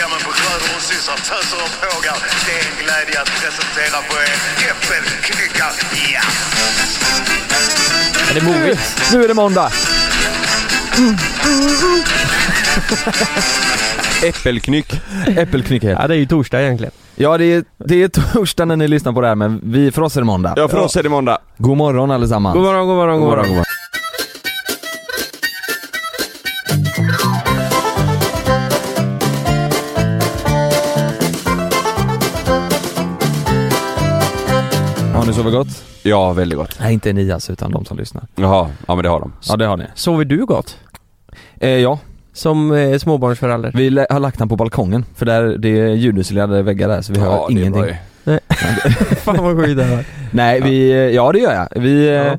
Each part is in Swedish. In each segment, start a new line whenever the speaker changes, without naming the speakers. Ja men på Gröder och Syssar töser och pågar. Det är en glädje att presentera för er Äppelknyckar. Ja!
Är det movie? Nu är det måndag!
Äppelknyck.
Äppelknyck heter det.
Ja, det är ju torsdag egentligen.
Ja, det är, det är torsdag när ni lyssnar på det här men vi, för oss är det måndag.
Ja, för oss är det måndag.
God morgon allesammans.
God morgon, god morgon, god morgon.
god morgon. Har ni sovit gott?
Ja, väldigt gott.
Nej, inte Elias utan de som lyssnar.
Jaha, ja men det har de.
Ja, det har ni.
Sover du gott?
Eh, ja,
Som eh, småbarnsförälder?
vi lä- har lagt den på balkongen för där, det är ljudisolerade väggar där så vi hör
ja, det är
ingenting.
bra ju.
Fan vad skit det här
Nej, vi, eh, ja det gör jag. Vi,
Ja.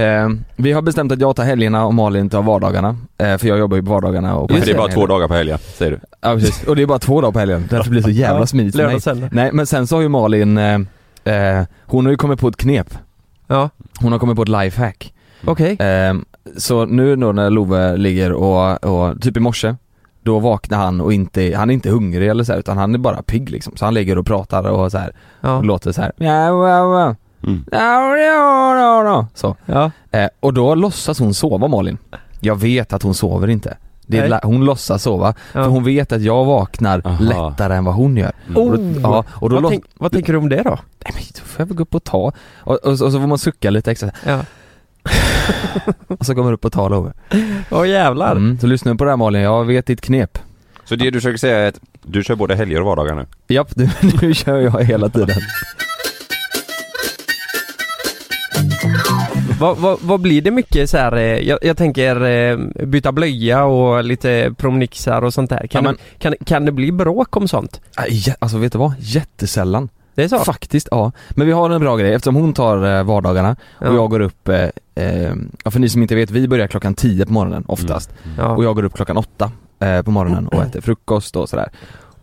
eh, eh, vi har bestämt att jag tar helgerna och Malin tar vardagarna. Eh, för jag jobbar ju på vardagarna och på
Men det är bara
helgerna.
två dagar på helgen, säger du.
Ja, precis. Och det är bara två dagar på helgen. Därför blir det så jävla smidigt för mig.
Lördagshelg.
Nej men sen så har ju Malin, eh, eh, hon har ju kommit på ett knep.
Ja,
Hon har kommit på ett lifehack.
okej.
Mm.
Eh, så nu då när Love ligger och, och typ i morse då vaknar han och inte, han är inte hungrig eller så här, utan han är bara pigg liksom. Så han ligger och pratar och så här, och
Ja.
låter så här. "Ja, ja, ja."
Mm.
Ja, ja, ja, ja. Så.
ja.
Eh, och då låtsas hon sova Malin. Jag vet att hon sover inte. Det är
Nej.
la- hon låtsas sova,
Ja.
för hon vet att jag vaknar
Aha.
lättare än vad hon gör. Och då,
Oh!
ja, och då
vad,
låt,
tänk, vad tänker du om det då?
nej, men då får jag väl gå upp och ta. Och, och, så- och så får man sucka lite extra,
Ja.
och så går man upp och tar Love.
Åh jävlar.
Mm, så lyssna på det här Malin, jag vet ditt knep.
Så det du försöker säga är att du kör både helger och vardagar nu? Mm.
Japp, nu, nu kör jag hela tiden.
Vad, vad, vad blir det mycket så här, eh, jag, jag tänker eh, byta blöja och lite promenixar och sånt där. Kan,
Ja, men-
det, kan, kan det bli bråk om sånt?
Ah, jä- Alltså vet du vad? Jättesällan.
Det är så?
Faktiskt, ja. Men vi har en bra grej, eftersom hon tar eh, vardagarna
Ja.
och jag går upp, eh, eh, ja, för ni som inte vet, vi börjar klockan 10 på morgonen oftast.
Ja.
Mm.
Och jag går upp klockan åtta eh, på morgonen och äter frukost och sådär.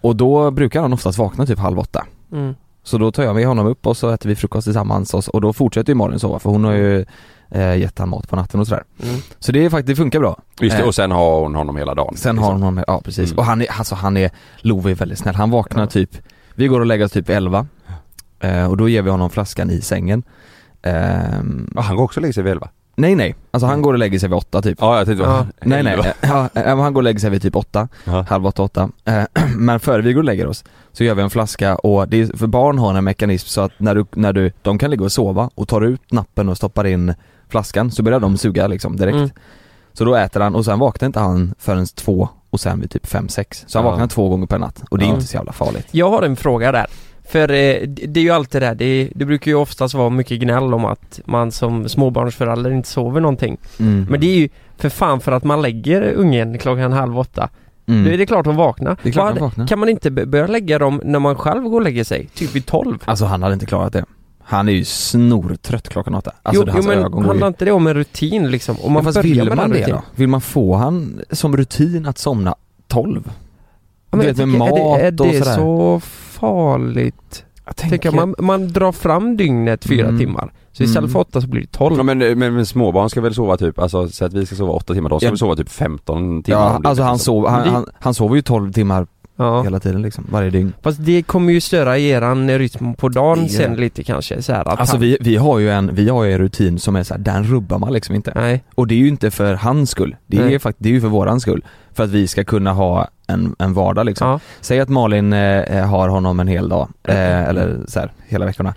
Och då brukar han oftast vakna typ halv åtta.
Mm.
Så då tar jag med honom upp och så äter vi frukost tillsammans och, så- och då fortsätter ju Malin sova för hon har ju eh, gett han mat på natten och sådär.
Mm.
Så det är faktiskt, det funkar bra.
Just det,
Eh.
och sen har hon honom hela dagen.
Sen har hon honom, ja precis.
Mm.
Och han är, alltså han är, Love är väldigt snäll. Han vaknar typ, vi går och lägger oss typ 11 eh, och då ger vi honom flaskan i sängen. Ehm,
Ja, han går också och lägger sig vid elva.
nej nej, alltså han går och lägger sig vid åtta typ.
Ja, jag tänkte
Ja.
Nej nej,
elva.
eh, ja, eh, han går och lägger sig vid typ åtta.
Ja.
halv åtta, åtta. Eh, Men före vi går och lägger oss så gör vi en flaska och det är, för barn har en mekanism så att när du, när du, de kan ligga och sova och tar ut nappen och stoppar in flaskan så börjar de suga liksom direkt.
Mm.
Så då äter han och sen vaknar inte han förrän två och sen vid typ fem, sex. Så han
Ja.
vaknar två gånger per natt och det är
Ja.
inte så jävla farligt.
Jag har en fråga där. För eh, det det är ju alltid det här, det, det brukar ju oftast vara mycket gnäll om att man som småbarnsförälder inte sover någonting.
Mm.
Men det är ju för fan för att man lägger ungen klockan halv åtta.
Mm.
Då är det klart hon vaknar.
Det är klart
Vad-
hon vaknar.
Kan man inte b- börja lägga dem när man själv går och lägger sig? Typ vid tolv?
Alltså han hade inte klarat det. Han är ju snortrött klockan åtta. Alltså
jo, jo
hans ögon
men
går ju...
handlar inte det om en rutin liksom? Om man
Ja, fast
börjar
vill man
med den
det
rutinen.
då? Vill man få han som rutin att somna tolv?
Ja, men
Du
jag
vet, med
tänker, är det, är
mat och
det
sådär.
så farligt?
Jag
Tänker man, man drar fram dygnet fyra
Mm.
timmar. Så istället
Mm.
för åtta så blir det tolv.
Ja, men, men, men småbarn ska väl sova typ, alltså så att vi ska sova åtta timmar, då ska
Ja.
vi sova typ 15 timmar
Ja,
om det
alltså
är
han,
liksom.
sov, han,
Det-
han, han sover ju 12 timmar
ja.
hela tiden liksom, varje dygn.
Fast det kommer ju störa eran rytm på dagen
Ja.
sen lite kanske så här att
Alltså
han-
vi, vi har ju en, vi har ju en rutin som är så här, den rubbar man liksom inte.
Nej,
Och det är ju inte för hans skull, det är,
Nej.
ju fakt- det är ju för våran skull. För att vi ska kunna ha en, en vardag liksom.
Ja.
Säg att Malin eh, har honom en hel dag, eh, eller så här, hela veckorna.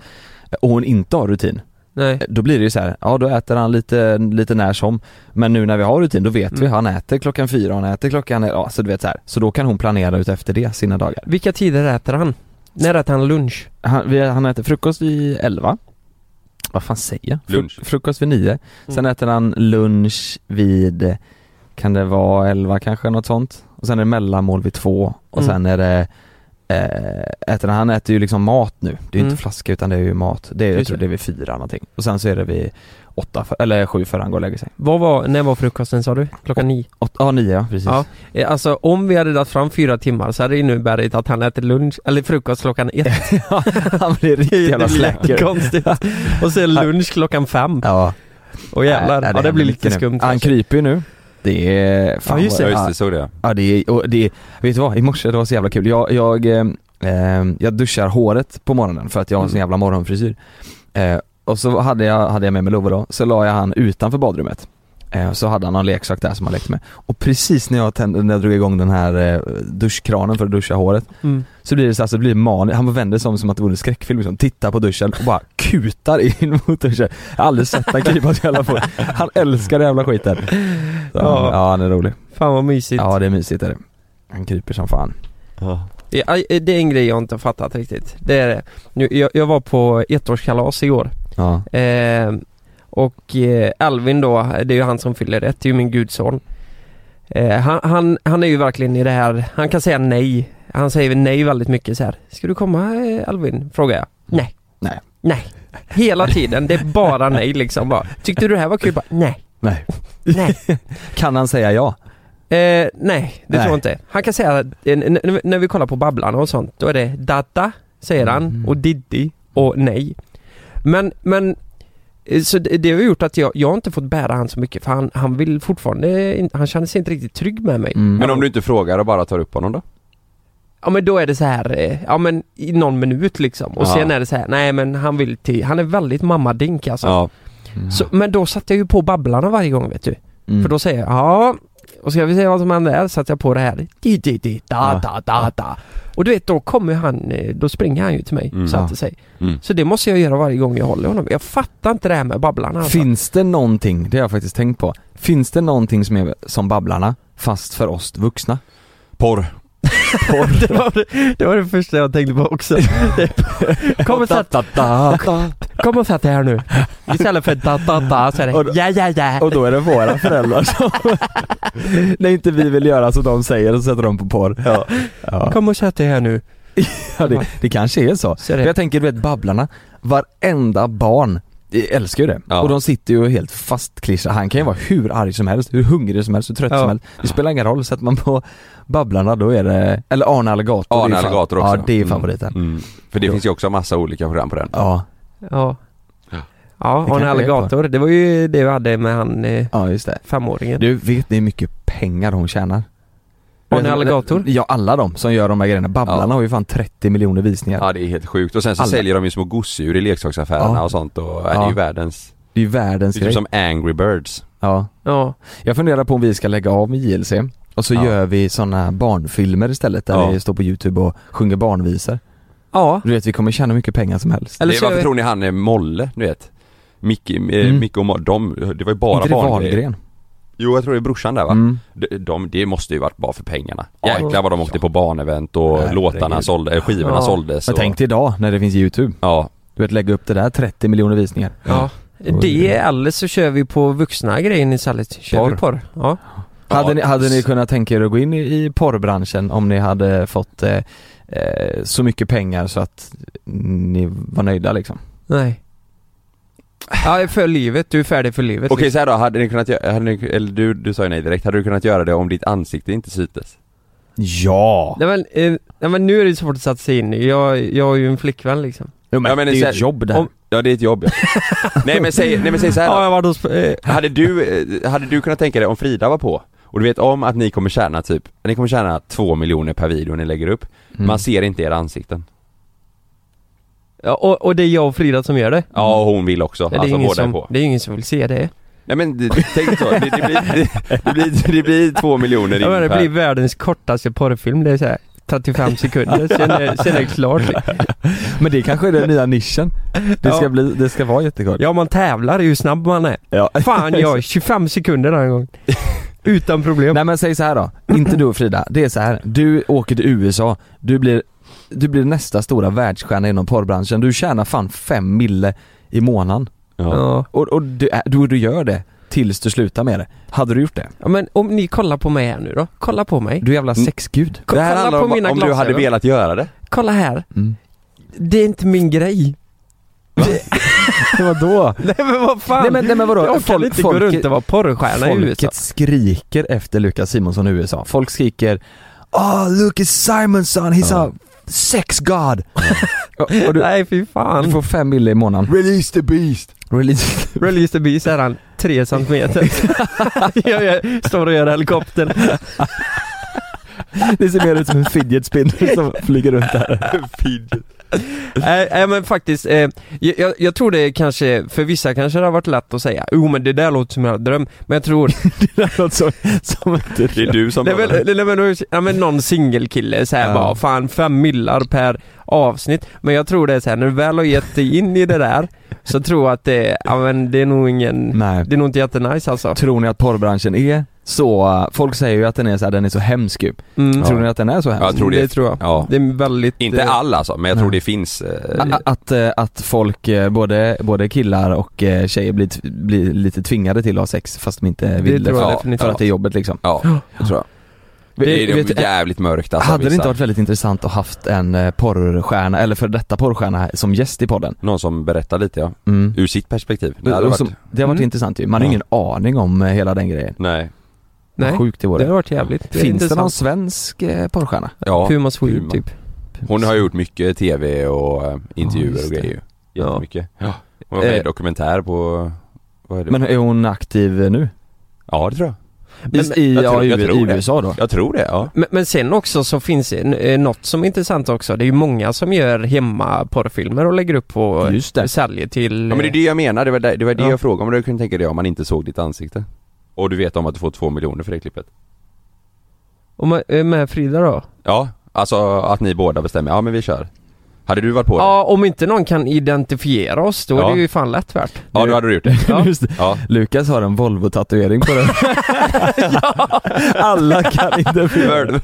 Och hon inte har rutin.
Nej.
Då blir det ju så här, ja då äter han lite, lite när som. Men nu när vi har rutin då vet vi,
Mm.
han äter klockan fyra, han äter klockan, ja så du vet så här. Så då kan hon planera ut efter det sina dagar.
Vilka tider äter han? När äter han lunch?
Han, vi, han äter frukost vid 11 Vad fan säger jag? Fru-
Lunch.
Frukost vid 9
Mm.
Sen äter han lunch vid Kan det vara 11 kanske, något sånt? Och sen är det mellanmål vid 2 Och
Mm.
sen är det eh, äter, han- Han äter ju liksom mat nu Det är ju
Mm.
inte flaska utan det är ju mat det är, Jag
Just
tror
det.
det är vid 4 någonting Och sen så är det vid 8, för, eller 7 före han går och lägger sig
Vad var, när var frukosten sa du? Klockan nio?
Åt- Ja, 9 ja, precis
Ja. Eh, Alltså om vi hade dragit fram fyra timmar så hade det inneburit att han äter lunch, eller frukost klockan ett.
Han blir riktigt jävla
det blir
slacker
jättekonstigt. Och sen lunch klockan fem.
Ja,
Och jävlar,
Nej,
ja, det
händer
blir lite
mycket nu.
skumt.
Han
kanske.
kryper ju nu Det är, fan
Ja, just
vad-
Ja just det, såg det
Ja det är, och det är, vet du vad? I morse det var så jävla kul. Jag, jag, eh, eh, jag duschar håret på morgonen för att jag har en sån jävla morgonfrisyr. Eh, och så hade jag, hade jag med mig Love då, så la jag han utanför badrummet. Eh, så hade han någon leksak där som han lekte med. Och precis när jag, tände, när jag drog igång den här eh, duschkranen för att duscha håret
Mm.
så blir det så, alltså, det blir man, han vänder sig om som att det vore en skräckfilm liksom, tittar på duschen och bara kutar in mot duschen. Jag har aldrig sett han krypa så jävla fort. Han älskar den jävla skiten. Så,
Ja.
ja. ja han är rolig.
Fan vad mysigt.
Ja det är mysigt är det. Han kryper som fan.
ja.
Ja, Det är en grej jag inte har fattat riktigt. Det är det. Nu, jag, jag var på ettårskalas igår.
Ja.
Eh, och eh, Alvin då, det är ju han som fyller ett, det är ju min gudson. Eh, han, han, han är ju verkligen i det här, han kan säga nej. Han säger nej väldigt mycket så här. Ska du komma eh, Alvin? Frågar jag. Nej.
Nej.
Nej. Hela tiden, det är bara nej liksom bara. Tyckte du det här var kul? Bara, nej.
Nej.
Nej.
Kan han säga ja?
Eh, nej,
Nej.
det tror jag inte. Han kan säga, eh, n- n- när vi kollar på Babblarna och sånt, då är det Dada, säger
Mm.
han, och Diddi och nej. Men, men eh, så det, det har gjort att jag, jag har inte fått bära han så mycket för han, han vill fortfarande, in- han känner sig inte riktigt trygg med mig.
Mm.
Men om du inte frågar och bara tar upp honom då?
Ja men då är det så här, eh, ja men i någon minut liksom. Och
Ja.
sen är det så här, nej men han vill till, han är väldigt mammadink alltså.
Ja,
Så, men då satte jag ju på Babblarna varje gång vet du.
Mm.
För då säger jag ja, och ska vi se vad som händer här sätter jag på det här. Di, di, di, da, da, da, da. Och du vet då kommer han, eh, då springer han ju till mig
Mm.
så att säga.
Mm.
Så det måste jag göra varje gång jag håller honom. Jag fattar inte det här med Babblarna alltså.
Finns det någonting, det har jag faktiskt tänkt på, finns det någonting som är som Babblarna fast för oss vuxna?
porr
det, var det, det var det första jag tänkte på också. Det- kom, och sätt,
Da, da, da.
kom och sätt dig här nu. Istället för da da da så är
Och
det
då-
ja ja ja.
Och då är det våra föräldrar som, när inte vi vill göra som de säger och sätter dem på porr. Ja.
Kom och sätt dig här nu.
det, det kanske är så.
Så är det.
För jag tänker du vet Babblarna, varenda barn eh, älskar ju det.
Ja.
Och de sitter ju helt fastklistrade. Han kan ju vara hur arg som helst, hur hungrig som helst, hur trött
Ja.
som helst. Det spelar ingen roll, sätter man på Babblarna då är det, eller Arne Alligator. det är
Arne
ju fan-
Alligator också
Ja det är favoriten.
mm. Mm. För det
Jo.
finns ju också massa olika program på den
Ja,
Ja.
Ja.
Ja,
Det
och en
kanske är
alligator. Det var ju det vi hade med han eh,
ja just det.
femåringen.
Du, vet ni hur mycket pengar hon tjänar?
Arne Alligator?
Ja alla de som gör de här grejerna. Babblarna
Ja.
har ju fan 30 miljoner visningar.
Ja det är helt sjukt och sen så
Alla.
säljer de ju små gosedjur i leksaksaffärerna
Ja.
och sånt och det
Ja.
är ju världens
Det är ju världens
Det är typ
grej.
som Angry Birds
Ja.
Ja.
Jag funderar på om vi ska lägga av med JLC och så
Ja.
gör vi såna barnfilmer istället där
Ja.
vi står på youtube och sjunger barnvisor.
Ja.
Du vet vi kommer tjäna mycket pengar som helst.
Eller
det,
så gör
Varför
vi-
tror ni han är Molle, du vet? Micke, eh,
Mm.
Micke och Mo- de, det var ju bara
Inte det
barngrejer
Wahlgren?
Jo jag tror det är brorsan där va?
Mm.
De, de, det måste ju varit bara för pengarna
Ja.
Jäklar vad de åkte på barnevent och
Herregud.
låtarna sålde, eh, skivorna
Ja.
såldes
Men
och,
tänk dig idag när det finns youtube.
Ja,
Du vet lägga upp det där 30 miljoner visningar.
Ja. Det eller så kör vi på vuxna grejen istället. Kör
Porr.
vi porr? Ja.
Hade,
Ja.
ni, hade ni kunnat tänka er att gå in i, i porrbranschen om ni hade fått eh, eh, så mycket pengar så att ni var nöjda liksom?
Nej. Ja, för livet. Du är färdig för livet. liksom.
Okej så här då, hade ni kunnat göra, hade ni, eller du, du sa ju nej direkt, hade du kunnat göra det om ditt ansikte inte syntes?
Ja!
Nej men, eh, nej men nu är det svårt att sätta sig in i. jag, jag har ju en flickvän liksom.
Jo, men,
Ja, men
det är
så
ju
här-
ett jobb där.
Om- Ja det är ett jobb ja. nej men säg, nej men säg så här då.
jag var hos... Eh,
Hade du, eh, hade du kunnat tänka dig om Frida var på och du vet om att ni kommer tjäna typ, ni kommer tjäna två miljoner per video ni lägger upp.
Mm.
Man ser inte era ansikten.
ja, och, och det är jag och Frida som gör det.
Ja och hon vill också,
det, är
alltså
ingen
båda är
som,
på.
det är ingen som vill se det.
Nej men det, tänk så, det, det, blir, det, det, blir, det blir två miljoner
Ja, men det
in per-
blir världens kortaste porrfilm, det är så här 35 sekunder, sen är, sen är det klart.
Men det kanske är den nya nischen. Det ska,
Ja.
bli, det ska vara jättekort.
Ja man tävlar i hur snabb man är.
Ja.
Fan jag, är 25 sekunder den här gången. Utan problem.
Nej men säg så här då, inte du och Frida. Det är så här. du åker till USA, du blir, du blir nästa stora världsstjärna inom porrbranschen. Du tjänar fan fem mille i månaden.
ja.
Ja.
Och, och du, är- du, du gör det tills du slutar med det. Hade du gjort det?
ja men om ni kollar på mig här nu då, kolla på mig.
Du jävla sexgud.
Ko-
Mm. Det här
kolla
handlar
på
om,
mina
om du hade
glasögon.
velat göra det.
Kolla här,
Mm.
det är inte min grej.
Vadå?
Nej men vad fan.
Nej men, nej, men vadå?
jag kan inte gå runt och vara porrstjärna i USA.
Folket skriker efter Lucas Simonsson i USA. Folk skriker Ah, Lucas Simonsson, he's
Ja.
a sex god! och, och du,
Nej fy
du
fan.
får fem mille i månaden.
Release the beast!
Release.
Release the Beast är han tre centimeter. jag gör, står och gör helikoptern.
Det ser mer ut som en fidget spinner som flyger runt där.
Nej nej, men faktiskt, eh, jag- jag, jag tror det kanske, för vissa kanske det har varit lätt att säga jo men det där låter som en dröm, men jag tror
Det är något som, som inte...
Det är du som...
Nej men, nej, men, då- ja, men någon singelkille så här
Ja.
bara, fan fem millar per avsnitt. Men jag tror det är så här, när du väl har gett dig in i det där så tror jag att det, ja men det är nog ingen,
Nej.
det är nog inte jättenice alltså.
Tror ni att porrbranschen är så, eh, folk säger ju att den är så här, den är så hemsk ju.
Mm.
Tror ni att den är så hemsk?
Jag tror det.
det tror jag.
Ja.
Det är väldigt...
Inte
eh,
all alltså, men jag tror
Nej.
det finns. eh,
A- a- Att, eh, att folk, eh, både, både killar och eh, tjejer blir, t- blir lite tvingade till att ha sex fast de inte vill
tror jag
för,
definitivt.
för att det är jobbet liksom.
Ja, det tror jag. Det, är
vet-
vet, jävligt mörkt alltså,
hade det
vissa.
inte varit väldigt intressant att haft en eh, porrstjärna, eller för detta porrstjärna här, som gäst i podden?
Någon som berättar lite ja,
Mm.
ur sitt perspektiv. Det
Det,
hade
och
varit...
som, det har varit
Mm.
intressant ju, man har
Ja.
ingen aning om eh, hela den grejen.
Nej.
Nej,
Vad sjukt det
det
vore.
har varit jävligt
Finns det någon
intressant.
svensk eh, porrstjärna?
Ja,
Puma Swede
Puma.
typ.
Hon har gjort mycket tv och eh, intervjuer
Ja, just
och
det.
grejer
Ja.
Jättemycket. Ja. Hon var med i
Eh.
dokumentär på... Vad är det?
Men är hon aktiv eh, nu?
Ja, det tror jag.
I, i,
jag tror-
ja, i,
jag tror
i
det.
USA då?
Jag tror det, ja.
Men, men sen också så finns det eh, något som är intressant också. Det är ju många som gör hemma porrfilmer och lägger upp och
Just det.
säljer till...
Ja men det är det jag menar, det var det, det, var det
Ja.
jag frågade om du kunde tänka dig om man inte såg ditt ansikte. Och du vet om att du får två miljoner för det klippet.
Och med, eh, med Frida då?
Ja, alltså att ni båda bestämmer, ja men vi kör. Hade du varit på det?
Ja, om inte någon kan identifiera oss då
Ja.
är det ju fan lätt värt.
ja då hade du gjort det.
Ja.
Just det.
Ja.
Lukas har en Volvo-tatuering på den. Alla kan inte
För-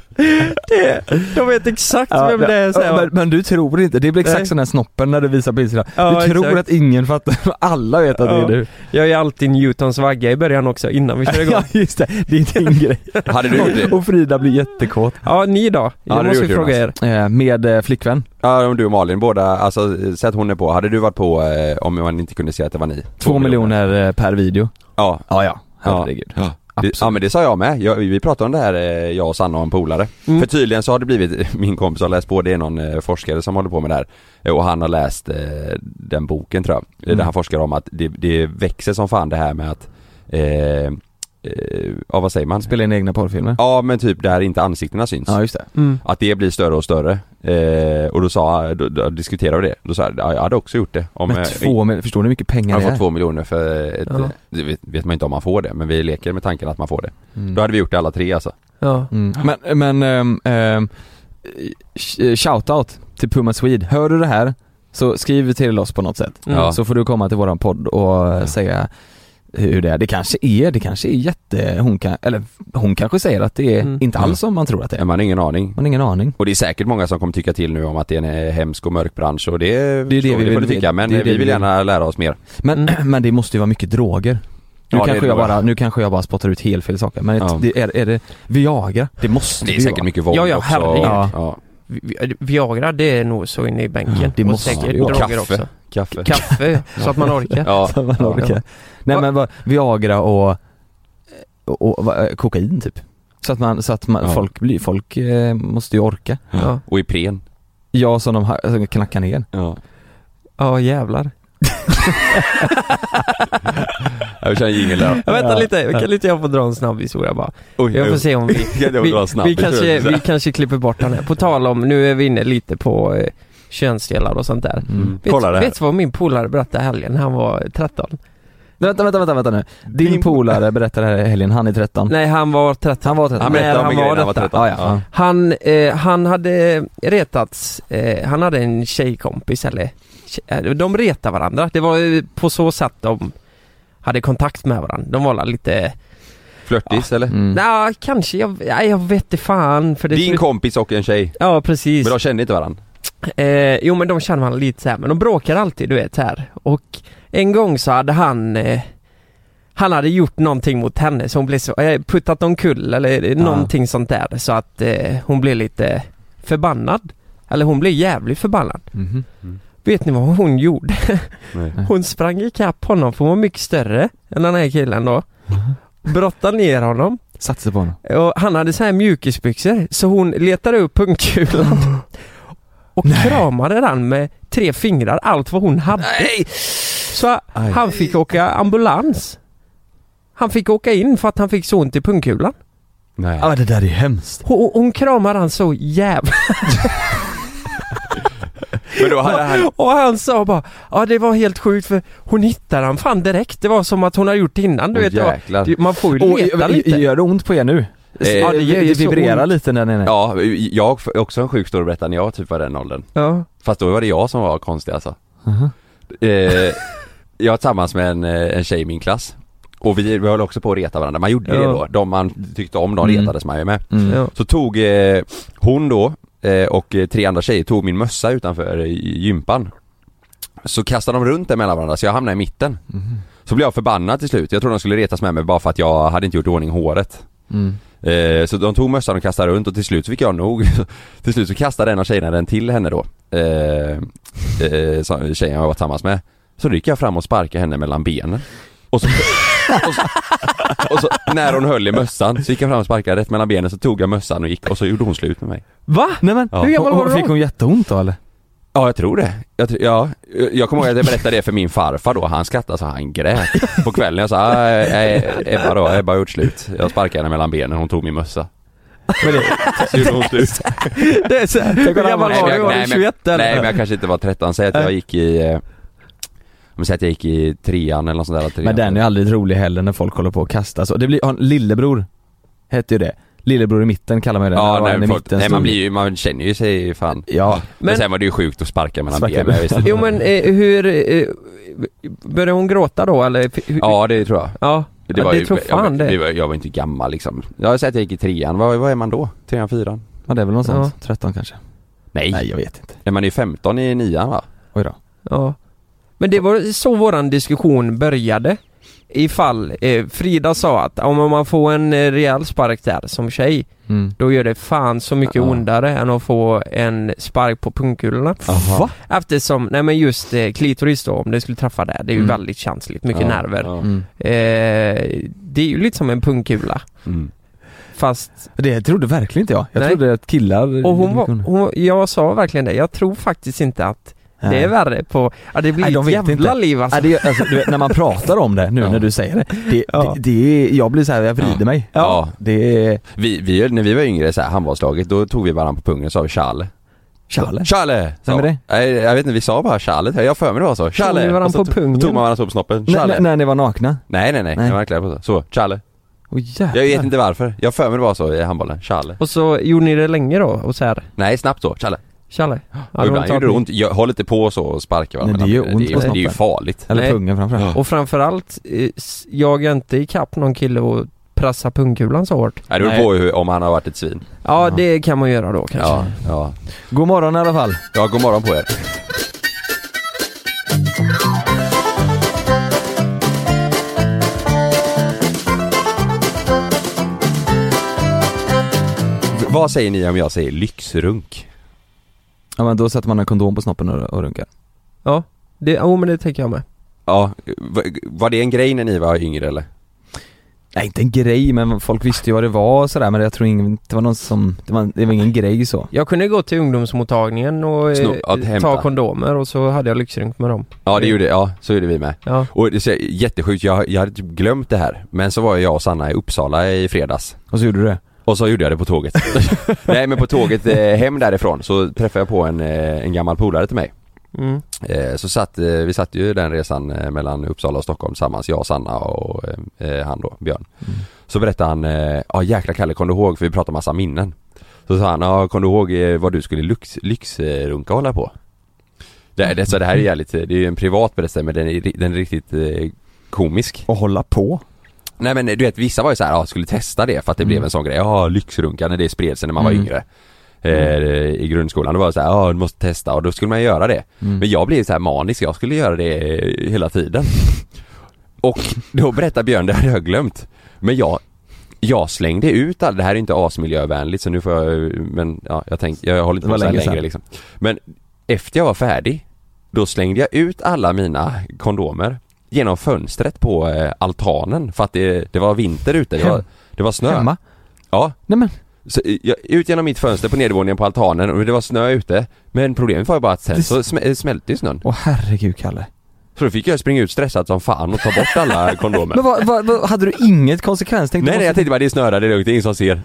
De vet exakt
Ja,
vem det är säger jag.
men, men du tror inte, det blir
Nej.
exakt som den här snoppen när du visar på Instagram.
Ja,
du tror
exakt.
att ingen fattar, alla vet att
Ja.
det är du.
Jag är alltid Newtons vagga i början också innan vi kör igång.
Ja just det, det är din grej.
Hade du gjort det?
Och Frida blir jättekåt.
Ja, ni då?
Ja,
Jag
det
måste
gjorde
ju fråga er.
Eh, Med eh, flickvän.
Ja om du och Malin båda, alltså eh, sätt hon är på, hade du varit på eh, om man inte kunde se att det var ni?
Två miljoner eh, per video.
Ja.
Ja ja,
Ja.
herregud.
Ja.
Absolut.
Det, ja men det sa jag med, jag, vi pratade om det här eh, jag och Sanna och en polare. För tydligen så har det blivit, min kompis har läst på, det är någon eh, forskare som håller på med det här. Eh, Och han har läst eh, den boken tror jag, Eh, där han forskar om att det, det växer som fan det här med att, eh, eh, ja vad säger man?
Spela in egna porrfilmer.
Ja men typ där inte ansiktena syns.
Ja just det.
Mm.
Att det blir större och större. Eh, och då sa, då, då diskuterade vi det. Då sa jag, ja, jag hade också gjort det. Om,
Men
eh,
två, mil- förstår ni hur mycket pengar
jag
det
har
är?
fått två miljoner för ett, eh,
Ja.
det vet, vet man inte om man får det, men vi leker med tanken att man får det. Då hade vi gjort det alla tre alltså.
Ja.
Mm. Men, men ehm, ehm, sh- shoutout till Puma Swede. Hör du det här så skriv till oss på något sätt.
Mm.
Ja.
Så får du komma till våran podd och eh, säga hur det är. Det kanske är, det kanske är jätte, hon kan, eller hon kanske säger att det är
Mm.
inte alls som man tror att det
Men
är.
man har ingen aning.
Man har ingen aning.
Och det är säkert många som kommer tycka till nu om att det är en eh, hemsk och mörk bransch och det, är
det vi
får
vill-
du tycka, men
det är det
vi
vi
vill
vill.
gärna lära oss mer.
Men, men det måste ju vara mycket droger. Nu,
Mm. Ja, det är
kanske
det
jag
bara.
bara, nu kanske jag bara spottar ut helt fel saker, men ett-
Ja.
det, är, är det Viagra? Det måste
Det är
ju
säkert
vara.
mycket våld
Ja, ja,
också.
herregud.
Ja.
Vi- vi- Viagra det är nog så inne i bänken.
det måste
och säkert
det ju vara.
droger
Kaffe.
också.
Kaffe.
Kaffe, så att man orkar.
Ja.
Som man orkar. Nej
Va-
men vad, Viagra och, och, och vad- kokain typ. Så att man, så att man,
Ja.
folk blir, folk eh, måste ju orka.
Ja,
Och Ipren.
Ja som de ha- alltså, knackar ner.
Ja.
ja jävlar.
Jag kör en jingel där.
Ja, vänta lite, kan inte jag få dra en snabb historia bara?
Oj,
Jag får
oj.
se om vi,
Jag drar
vi,
en snabb
vi, kanske,
historia.
vi kanske klipper bort den här. På tal om, nu är vi inne lite på eh, könsdelar och sånt där.
Mm.
Vet,
Kolla det här.
vet du vad min polare berättade i helgen? Han var 13.
Vänta, vänta, vänta, vänta nu. Din
Din-
polare berättade här i helgen, han är 13.
Nej han var 13.
Han var 13.
Han berättade om
Nej,
en
han
grej
var
när han var
detta.
13.
Ah, ja. Ja.
Han, eh, han hade retats, eh, han hade en tjejkompis eller tje- eh, De retade varandra, det var ju på så sätt de hade kontakt med varandra. De var lite,
Flörtis eller?
Mm.
nja kanske, jag, nej, jag vet inte fan för det
Din
slut-
kompis och en tjej.
Ja precis.
Men de kände inte varandra.
Eh, jo men de känner man lite så här, men de bråkar alltid du vet så här. Och en gång så hade han eh, Han hade gjort någonting mot henne så hon blev så, eh, puttat omkull eller
Ah.
Ja.
någonting sånt där så att eh, hon blev lite förbannad. Eller hon blev jävligt förbannad.
Mhm.
Vet ni vad hon gjorde?
Nej.
Hon sprang ikapp honom för hon var mycket större än den här killen då.
Mm.
Brottade ner honom
Satte sig på honom.
och han hade så här mjukisbyxor så hon letade upp pungkulan och kramade den med tre fingrar, allt vad hon hade. Så
Aj.
han fick åka ambulans. Han fick åka in för att han fick så ont i pungkulan.
Nej.
Ja, det där är hemskt.
Hon, hon kramade han så jävla...
Men då hade han...
Och han sa bara ja det var helt sjukt för hon hittade han fan direkt. Det var som att hon hade gjort det innan. Du
Åh,
vet, det var-
jäklar.
det- man får ju
Och,
leta lite.
gör det ont på er nu?
Ja,
Eh, det gör ju så
vibrerar
ont.
lite där nere.
Ja, jag har också en sjuk story att berätta när jag typ var den åldern.
Ja.
Fast då var det jag som var konstig alltså. Eh, jag var tillsammans med en, eh, en tjej i min klass. Och vi, vi höll också på att reta varandra. Man gjorde det
Ja.
då. De man tyckte om, de
Mm.
retades man ju med.
Mm.
Ja.
Så tog eh, hon då eh, och eh, tre andra tjejer tog min mössa utanför eh, i gympan. Så kastade de runt den mellan varandra så jag hamnade i mitten. Så blev jag förbannad till slut. Jag trodde de skulle retas med mig bara för att jag hade inte gjort i ordning håret.
Mm.
Eh, så de tog mössan och kastade runt och till slut så fick jag nog. till slut så kastade en av tjejerna den till henne då. Eh, eh, som- tjejen jag var tillsammans med. Så då gick jag fram och sparkade henne mellan benen. Och så, och så, och så när hon höll i mössan så gick jag fram och sparkade rätt mellan benen så tog jag mössan och gick och så gjorde hon slut med mig.
Va?
Nej men,
Ja.
Hur gammal var
hon,
du
fick
då?
hon jätteont då eller?
Ja, jag tror det. Jag, tr- ja, jag kommer ihåg att jag berättade det för min farfar då. Han skrattade så han grät. På kvällen jag sa, "Ah, eh, eh, Ebba då, Ebba har gjort slut. Jag sparkade henne mellan benen, hon tog min mössa.
Men det,
Så gjorde hon slut.
Det är så här, hur
kolla,
gammal
nej,
var
men
du?
jag-
Var
nej,
du
men-
21 eller?
Nej men jag kanske inte var 13, säg att jag gick i eh, om säger att jag gick i trean eller något sånt där trean.
men den är aldrig rolig heller när folk håller på och kastar så. Det blir, har en lillebror hette ju det. Lillebror i mitten kallar man ju det.
Ja,
När
nej,
en i
men folk,
mitten
nej
stod-
man blir ju, man känner ju sig fan
Ja.
Men,
Men-
sen var det ju sjukt att sparka alltså, mellan
Sparka
benen, jag visste inte.
Jo men eh, hur, eh, började hon gråta då eller? F- hur-
Ja det tror jag
ja, det,
var ju-
tror fan
jag,
det.
Jag var, jag var inte gammal liksom. Jag säger att jag gick i trean, vad, vad är man då? Trean, fyran?
ja, det är väl något sånt. 13 kanske.
Nej,
Nej jag vet inte.
Nej, man är ju 15 i nian va?
Oj då.
Ja. Men det var så våran diskussion började. Ifall eh, Frida sa att om man får en eh, rejäl spark där som tjej,
Mm.
då gör det fan så mycket
Ja.
ondare än att få en spark på pungkulorna.
Va?
Eftersom, nej men just eh, klitoris då, om det skulle träffa där, det är ju
Mm.
väldigt känsligt, mycket
Ja,
nerver.
ja.
Mm.
Eh, det är ju lite som en pungkula.
Mm.
Fast
Det trodde verkligen inte jag. Jag
Nej.
trodde att killar...
Och hon var, hon, jag sa verkligen det, jag tror faktiskt inte att det är värre på, ja det blir
Nej, de
ett
vet
jävla
inte.
liv alltså.
Ja, det, alltså, du vet, när man pratar om det nu
Ja.
när du säger det, det,
Ja.
det, det är, jag blir så här, jag vrider mig.
Ja. Ja.
Det är...
Vi, vi, när vi var yngre så här, handbollslaget, då tog vi varandra på pungen och sa vi Charle
Charles.
Charle! sa
Vem är det?
man. Nej, jag vet inte, vi sa bara Charle, jag har för mig det var så. Charle!
Tog ni varandra
Och så
på
to-
pungen?
tog man varandra så på snoppen.
När-
Charle!
När, när ni var nakna?
Nej nej nej,
Nej.
jag var verkligen på så. Så, Charle.
Åh jävlar.
Jag vet inte varför, jag har för mig det var så i handbollen. Charle.
Och så gjorde ni det länge då och så här,
Nej snabbt så, Charle.
Challe?
och ibland gjorde det ont, jag, håll inte på så och sparka varandra.
Nej, det gör
Men
ont
det,
på
är- det är ju
snoppen.
farligt.
Eller
Nej.
pungen framförallt.
Och framförallt, eh, s- jaga inte ikapp någon kille och pressa pungkulan så hårt.
Nej, det beror på hur, om han har varit ett svin.
Ja, det kan man göra då kanske.
Ja, ja.
God morgon i alla fall.
Ja, god morgon på er. V- Vad säger ni om jag säger lyxrunk?
Ja men då sätter man en kondom på snoppen och, och runkar.
Ja, det, jo, men det tänker jag med.
Ja, v- var det en grej när ni var yngre eller?
Nej inte en grej men folk visste ju vad det var och sådär men jag tror ingen, det var någon som, det var, det var ingen grej så.
Jag kunde gå till ungdomsmottagningen och eh,
Sno- att hämta.
ta kondomer och så hade jag lyxrunk med dem.
Ja, det gjorde, ja, så gjorde vi med.
Ja.
Och det är jättesjukt, jag, jag hade typ glömt det här. Men så var jag och Sanna i Uppsala i fredags.
Och så gjorde du det?
Och så gjorde jag det på tåget. Nej men på tåget eh, hem därifrån så träffade jag på en, eh, en gammal polare till mig.
Mm.
Eh, Så satt, eh, vi satt ju den resan eh, mellan Uppsala och Stockholm tillsammans, jag, Sanna och eh, eh, han då, Björn. Så berättade han, eh, ja jäkla Kalle kom du ihåg, för vi pratade massa minnen. Så sa han, ja kom du ihåg eh, vad du skulle lyx, lyxrunka och hålla på? Det, det, så det här är jävligt, eh, det är ju en privat berättelse men den är, ri- den är riktigt eh, komisk.
Och hålla på.
Nej men eh, du vet vissa var ju så här, ja skulle testa det för att det blev en sån grej, ja lyxrunka när det spred sig när man var
Mm.
yngre. Eh, I grundskolan, då var det så här, ja du måste testa och då skulle man ju göra det.
Mm.
Men jag blev så här manisk, jag skulle göra det eh, hela tiden. Och då berättar Björn, det hade jag glömt. Men jag, jag slängde ut all, det här är inte asmiljövänligt så nu får jag, eh, men ja, jag tänkte, jag håller inte
Det var
på så här
länge sedan.
längre liksom. Men efter jag var färdig, då slängde jag ut alla mina kondomer genom fönstret på eh, altanen för att det, det var vinter ute, det var,
Hem-
det var snö.
Hemma.
Ja,
Nej men,
så eh, jag, ut genom mitt fönster på nedervåningen på altanen och det var snö ute. Men problemet var ju bara att sen
Det-
så sm- eh, smälte ju snön.
åh herregud Kalle.
Så då fick jag springa ut stressad som fan och ta bort alla kondomer.
Men vad, vad, vad, hade du inget konsekvenstänk?
nej nej jag tänkte bara det är snöra, det är lugnt, det är ingen som ser.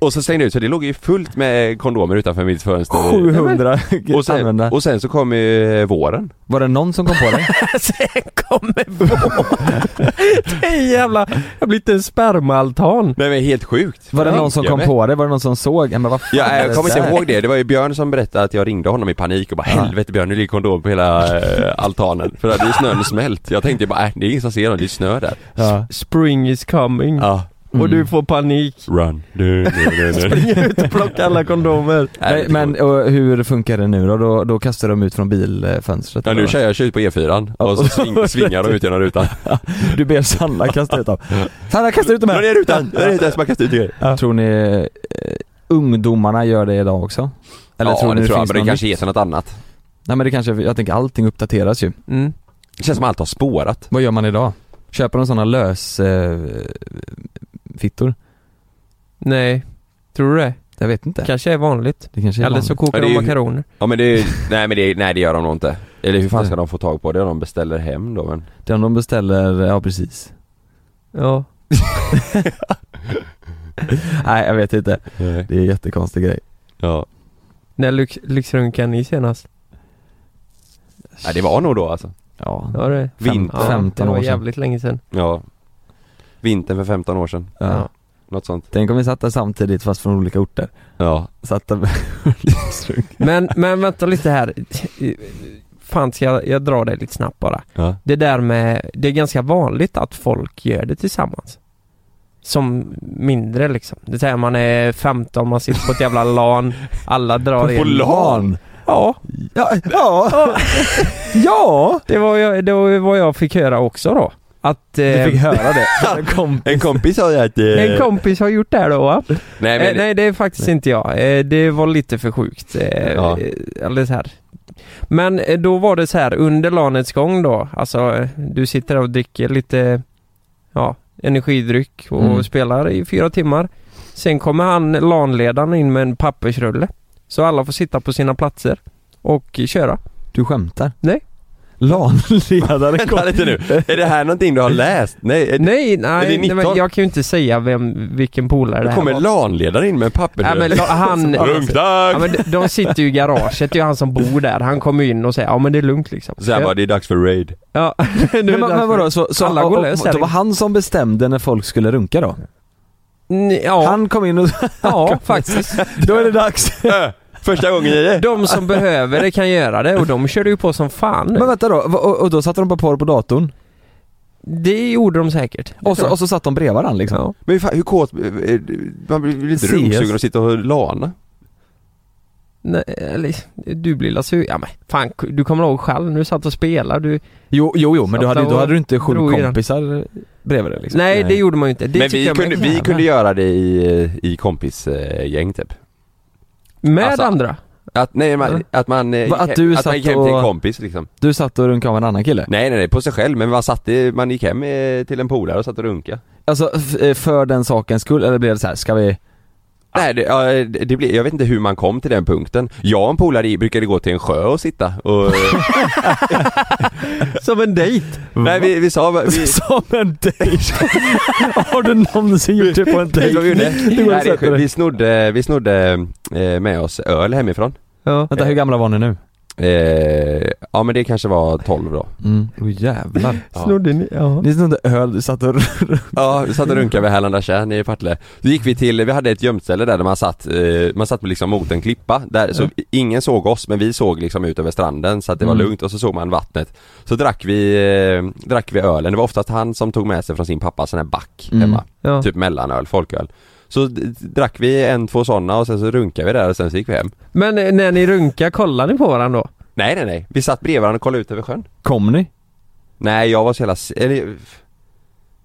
Och så slängde jag ut så det låg ju fullt med eh, kondomer utanför mitt fönster.
700
Och sen,
användare.
och sen så kom ju våren.
Var det någon som kom på det?
Sen kommer våren! Det är en jävla... Jag blir inte en spermaaltan.
Nej men helt sjukt.
Var det någon som
Jag
kom
med.
på det? Var det någon som såg? Ja, men vad fan
Ja,
är
jag kommer inte
där?
ihåg det, det var ju Björn som berättade att jag ringde honom i panik och bara helvete Björn nu ligger kondom på hela eh, altanen. För då hade ju snön smält. Jag tänkte bara äh, det är ingen som ser dem, det är snö där.
Ja. Mm.
Spring is coming.
Ja,
Och du får panik.
run. Du, du, du, du.
Spring ut och plocka alla kondomer.
Nej,
Nej, men och hur funkar det nu då? Då, då kastar de ut från bilfönstret?
Ja nu kör jag ut på E4 och så sving, svingar de ut genom rutan.
Du ber Sanna kasta ut dem. Sanna kasta ut dem här!
är rutan! Där är rutan som har kastat ut grejer.
Tror ni eh, ungdomarna gör det idag också? Eller
ja,
tror ni
det
det
tror jag,
finns
men det
någon
kanske
nytt?
heter något annat.
Nej men det kanske, jag tänker allting uppdateras ju.
Mm.
Det känns som allt har spårat.
Vad gör man idag? Köper de sådana lös eh, fittor?
Nej. Tror du det?
Jag vet inte.
kanske är vanligt.
Det kanske är
Eller så
vanligt.
kokar
Ja, det
de
är ju-
makaroner.
Ja men det, är- nej men det, nej det gör de nog inte. Eller hur fan ska de få tag på det om de beställer hem då men?
Den de beställer, ja precis.
Ja.
Nej jag vet inte. Det är en jättekonstig grej.
Ja.
När lyx, lyxrunkade ni senast?
Nej, det var nog då alltså.
Ja.
Ja det
Vint-
ja,
15
det
år
var
sedan.
jävligt länge sedan.
Ja. Vintern för 15 år sedan.
Ja.
Ja.
Något sånt.
Tänk om vi satt där samtidigt fast från olika orter.
Ja.
Satt där
Men, men vänta lite här. Fan ska jag, jag dra det lite snabbt bara.
Ja.
Det där med, det är ganska vanligt att folk gör det tillsammans. Som mindre liksom. Det säger man är 15, man sitter på ett jävla LAN, alla drar in. Ja,
Ja, ja! ja!
det var, jag, det var vad jag fick höra också då. Att eh,
Du fick höra det från Ehm. en kompis.
En kompis sa ju att... eh,
en kompis har gjort det här då va?
Nej
Nej,
men,
eh, nej det är faktiskt inte jag. Eh, det var lite för sjukt. Eh,
Ja.
eh, Eller så här. Men eh, då var det så här under lanets gång då, alltså eh, du sitter där och dricker lite ja, energidryck och
Mm.
spelar i fyra timmar. Sen kommer han, lanledaren in med en pappersrulle. Så alla får sitta på sina platser och köra.
Du skämtar?
Nej.
LAN-ledare
Vänta lite nu. Är det här någonting du har läst? Nej. Är,
Nej,
det
nej, nej,
19?
men jag kan ju inte säga vem, vilken polare det
Då
här
kommer
var.
LAN-ledaren in med en papper
Ja, men la- han, alltså,
Runkdag!
Ja, men de- de sitter ju i garaget, det är ju han som bor där. Han kommer ju in och säger ja men det är lugnt liksom.
Så här bara, det är dags för raid.
Ja, nu
Men, men vadå, så, så
Alla går
och- och-
lös här
Det var
inne.
han som bestämde när folk skulle runka då?
Mm, Ja,
Han kom in och
ja faktiskt.
då är det dags.
Första gången i det.
De som behöver det kan göra det och de körde ju på som fan.
Men vänta då, va- och, och då satte de på porr på datorn?
det gjorde de säkert.
Och så, och så satt de bredvid varandra liksom?
Ja.
Men hur fan, hur kåt, eh, eh, man blir lite
Ses.
rungsugen och sitta och lana?
Nej, eller, du blir la sur. Ja men fan, du kommer ihåg själv när du satt och spelade. Du...
Jo, jo, jo men du
Satt
hade,
och
då hade du inte sju
drog i den.
kompisar bredvid dig liksom?
Nej, det gjorde man ju inte. Det
Men
tycker
vi
jag man
kunde,
kan
vi
göra.
kunde göra det i, eh, i kompisgäng typ.
Med
Alltså-
andra?
Att, nej, man,
Mm.
att man, eh,
Va,
gick
att
he-
du
att
satt
man gick hem till en
och-
kompis liksom.
Du satt och runkade av en annan kille?
Nej nej nej, på sig själv, men man satt, i- man gick hem eh, till en polare och satt och runka.
Alltså f- eh, för den sakens skull, eller blev det så här, ska vi...
Nej, det, ja, eh, det det blir, jag vet inte hur man kom till den punkten. Jag och en polare i- brukade gå till en sjö och sitta och... eh,
Som en dejt?
nej vi, vi sa... Vi,
Som en dejt! Har du någonsin gjort det på en
Vet du
dejt?
vad vi gjorde?
Du går och
Nej, det är
sätter
sjukt.
dig.
vi snodde, vi snodde eh, med oss öl hemifrån.
Ja.
Vänta, hur gamla var ni nu?
Eh, ja men det kanske var 12 då.
Mm. Åh jävlar.
Snodde ni? Ja.
Ni snodde öl, du satt och
Ja, vi satt och runkade vid Härlanda tjärn i Partille. Då gick vi till, vi hade ett gömställe där man satt, eh, man satt liksom mot en klippa. Där,
Mm.
så ingen såg oss men vi såg liksom ut över stranden så att det var
Mm.
lugnt och så såg man vattnet. Så drack vi, eh, drack vi ölen. Det var oftast han som tog med sig från sin pappa sån här back
Mm.
hemma.
Ja.
Typ mellanöl, folköl. Så d- drack vi en, två sådana och sen så runkade vi där och sen så gick vi hem.
Men eh, när ni runkar, kollar ni på varandra då?
Nej nej nej, vi satt bredvid varandra och kollade ut över sjön.
Kom ni?
Nej jag var så jävla, s- eller,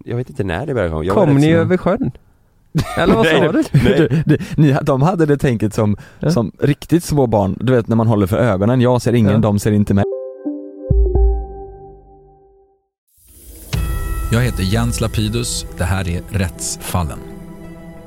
jag vet inte när det började komma. Jag var
Kom
rätt
ni
sen.
över sjön? Eller vad sa du?
Du, du, ni, de hade det tänket som,
Ja.
som riktigt små barn, du vet när man håller för ögonen, jag ser ingen,
Ja.
de ser inte mig.
Jag heter Jens Lapidus. Det här är Rättsfallen.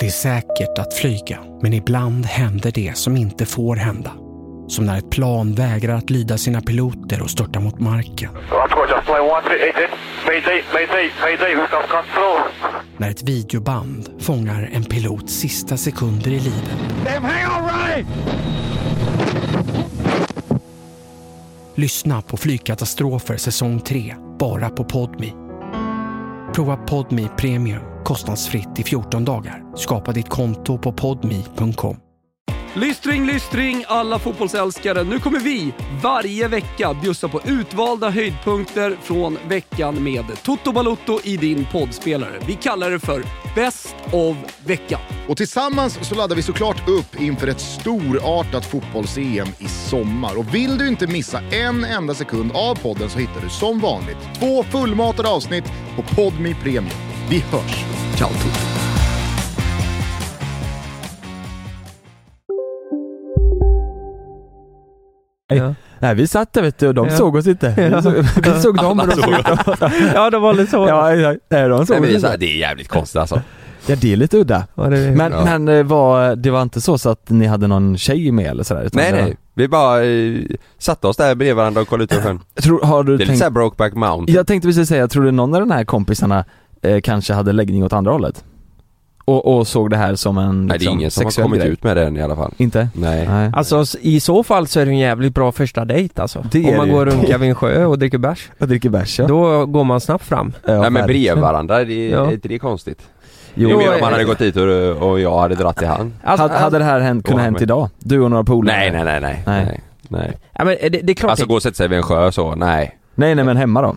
Det är säkert att flyga, men ibland händer det som inte får hända. Som när ett plan vägrar att lyda sina piloter och störtar mot marken. När ett videoband fångar en pilots sista sekunder i livet. Lyssna på Flygkatastrofer säsong 3, bara på Podmi. Prova Podmi Premium kostnadsfritt i 14 dagar. Skapa ditt konto på podmi.com.
Lystring, lystring alla fotbollsälskare. Nu kommer vi varje vecka bjussa på utvalda höjdpunkter från veckan med Toto Balotto i din poddspelare. Vi kallar det för Best of veckan.
Och tillsammans så laddar vi såklart upp inför ett storartat fotbolls-EM i sommar. Och vill du inte missa en enda sekund av podden så hittar du som vanligt två fullmatade avsnitt på Podmi Premium. Vi hörs! Ciao tutti!
Ja,
Nej vi satt där vet du och de
Ja.
såg oss inte. Vi
Ja.
såg, vi såg dem och de såg inte oss.
ja det var lite så.
Ja, ja, nej, de såg
Nej, men
oss
det, är så här,
inte.
det är jävligt konstigt alltså.
Ja det är lite udda.
Ja, det-
Men,
Ja.
men eh, var, det var inte så, så att ni hade någon tjej med eller sådär? utan
Nej
det var-
nej, vi bara eh, satte oss där bredvid varandra och kollade ut över sjön.
Tror, har
Det
du
är lite
tänkt,
såhär Brokeback Mountain.
jag tänkte precis säga, tror du någon av de här kompisarna eh, kanske hade läggning åt andra hållet? Och, och såg det här som en
Nej det är
liksom,
ingen som har
sexuell
kommit
grej?
ut med det än i alla fall.
Inte?
Nej.
Nej.
Alltså s- i så fall så är det en jävligt bra första dejt alltså.
Det är
Om man
det
går
ju.
och runkar vid en sjö och dricker bärs.
Jag dricker bärs ja.
Då går man snabbt fram.
Ja,
Nej men
verkligen.
bredvid varandra, det,
Ja.
är inte det konstigt?
Jo,
det är mer om
eh,
man hade gått dit och, och jag hade dratt i hand.
Alltså,
hade, hade det här hänt, kunnat
Ja,
hänt
men-
idag? Du och några polare?
Nej nej nej nej.
Nej.
nej. nej.
ja, men eh, det, det är klart
Alltså gå och sätta sig vid en sjö så, nej.
Nej nej men hemma då?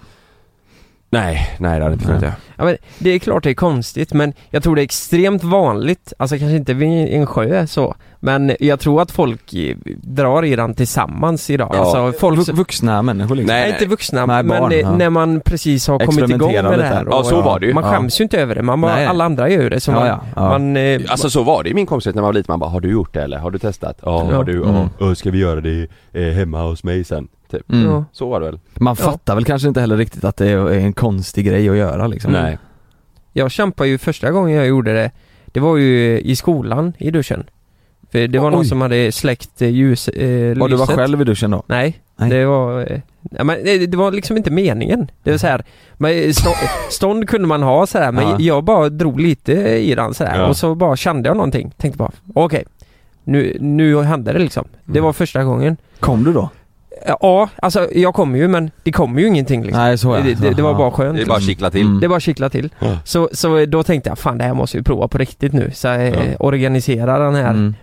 Nej, nej det hade inte kunnat
Nej.
jag.
Ja, men det är klart det är konstigt men jag tror det är extremt vanligt, alltså kanske inte vid en sjö så Men jag tror att folk eh, drar i den tillsammans idag,
Ja.
alltså folk
Vu-
som,
vuxna människor liksom?
Nej.
nej, inte vuxna
Nej,
men
barn,
eh,
ja.
när man precis har kommit igång
Experimentera
med det
lite.
här
Ja, så var det ju.
Man
Ja.
skäms ju inte över det, man bara,
Nej.
alla andra gör det så
Ja,
man,
ja, ja.
man eh,
Alltså så var det i min kompisgrupp när man var liten, man bara har du gjort det eller? Har du testat? Ja,
Ja.
har du? Ja, Ö, ska vi göra det eh, hemma hos mig sen? Typ.
Mm.
ja.
Så var det väl?
Man
Ja.
fattar väl kanske inte heller riktigt att det är en konstig grej att göra liksom?
Nej.
Jag kämpade ju första gången jag gjorde det Det var ju i skolan, i duschen För det var någon
Oj.
som hade släckt eh, ljus, eh,
Och du var
lyset.
själv i duschen då?
Nej,
Nej.
det var... eh, Ja, men det, det var liksom inte meningen. Det var så här, man, stå, stånd kunde man ha så här, men
Ja.
jag bara drog lite i den så här,
Ja.
och så bara kände jag någonting. Tänkte bara, okej, nu, nu hände det liksom. Det var första gången.
Kom du då?
Ja, alltså jag kom ju men det kom ju ingenting liksom.
Nej så är
det, det, det var bara skönt.
Det är bara att kittla till.
Mm.
Det bara kittla till.
Ja.
Så, så då tänkte jag, fan det här måste vi prova på riktigt nu. Så jag eh,
Ja.
organisera den här
Mm.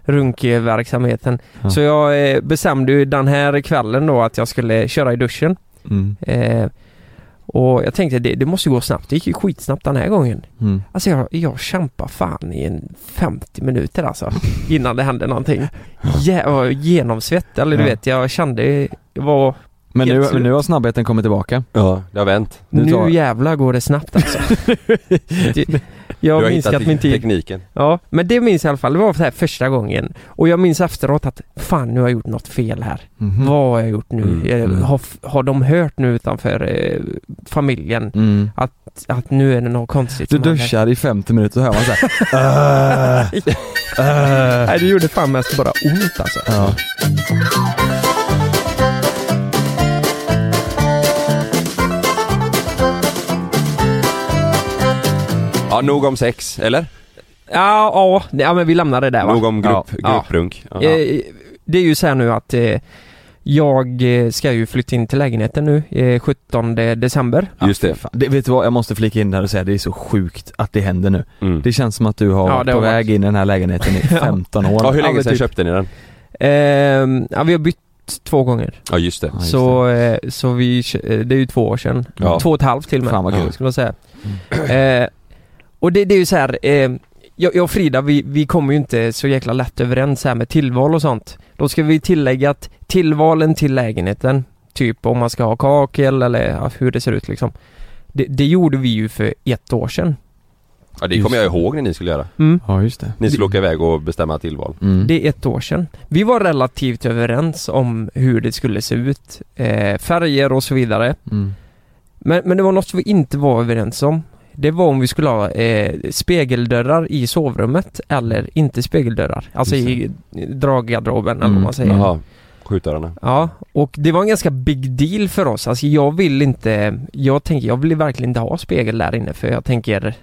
runkverksamheten.
Ja.
Så jag eh, bestämde ju den här kvällen då att jag skulle köra i duschen.
Mm.
Eh, och jag tänkte det, det måste ju gå snabbt. Det gick ju skitsnabbt den här gången.
Mm.
Alltså jag, jag kämpade fan i en 50 minuter alltså. Innan det hände någonting. Jä- Jag var genomsvett, eller du
Ja.
vet jag kände, jag var,
Men nu,
Helt
men nu har snabbheten kommit tillbaka.
Ja, det har vänt.
Nu
nu
tar-
jävlar går det snabbt alltså. det, Jag
du har
minskat
hittat
min tid.
tekniken.
Ja, men det minns jag i alla fall. Det var så här första gången. Och jag minns efteråt att fan nu har jag gjort något fel här.
Mhm.
Vad har jag gjort nu?
Mm.
Eh, Har, f- har de hört nu utanför eh, familjen
Mm.
att, att nu är det något konstigt
Du
som händer?
duschar i 50 minuter så hör man såhär
Nej det gjorde fan mest bara ont alltså.
ja.
Ja, nog om sex, eller?
Ja, ja, nej, ja men vi lämnar det där va?
Nog om grupp,
Ja.
grupprunk. Ja.
Eh, Det är ju så här nu att eh, jag eh, ska ju flytta in till lägenheten nu eh, 17 december.
Just det.
det, Vet du vad, jag måste flika in där och säga det är så sjukt att det händer nu
Mm.
Det känns som att du har
Ja,
varit
det
på
har varit.
väg in i den här lägenheten i 15 år
Ja, hur länge
men
sedan
typ.
köpte ni den?
Ehm, ja, vi har bytt två gånger.
Ja, just det.
Ja, just
så eh, så vi, kö- eh, det är ju två år sedan.
Ja.
Två och ett halvt till och med.
Fan, vad kul. Mm.
Skulle man säga. Eh, och det, det är ju så här. Eh, jag, jag och Frida vi, vi kommer ju inte så jäkla lätt överens här med tillval och sånt. Då ska vi tillägga att tillvalen till lägenheten, typ om man ska ha kakel eller ja, hur det ser ut liksom. Det, det gjorde vi ju för ett år sedan.
Ja, det kommer jag ihåg när ni skulle göra.
Mm.
Ja just det
Ni skulle åka iväg och bestämma tillval.
mm.
Det är ett år sedan. Vi var relativt överens om hur det skulle se ut, eh, färger och så vidare.
Mm.
Men, men det var något vi inte var överens om. Det var om vi skulle ha eh, spegeldörrar i sovrummet eller inte spegeldörrar. Alltså
Just
i draggarderoben eller
Mm,
vad man säger.
Jaha, skjutdörrarna.
Ja, och det var en ganska big deal för oss. Alltså jag vill inte, jag tänker, jag vill verkligen inte ha spegel där inne för jag tänker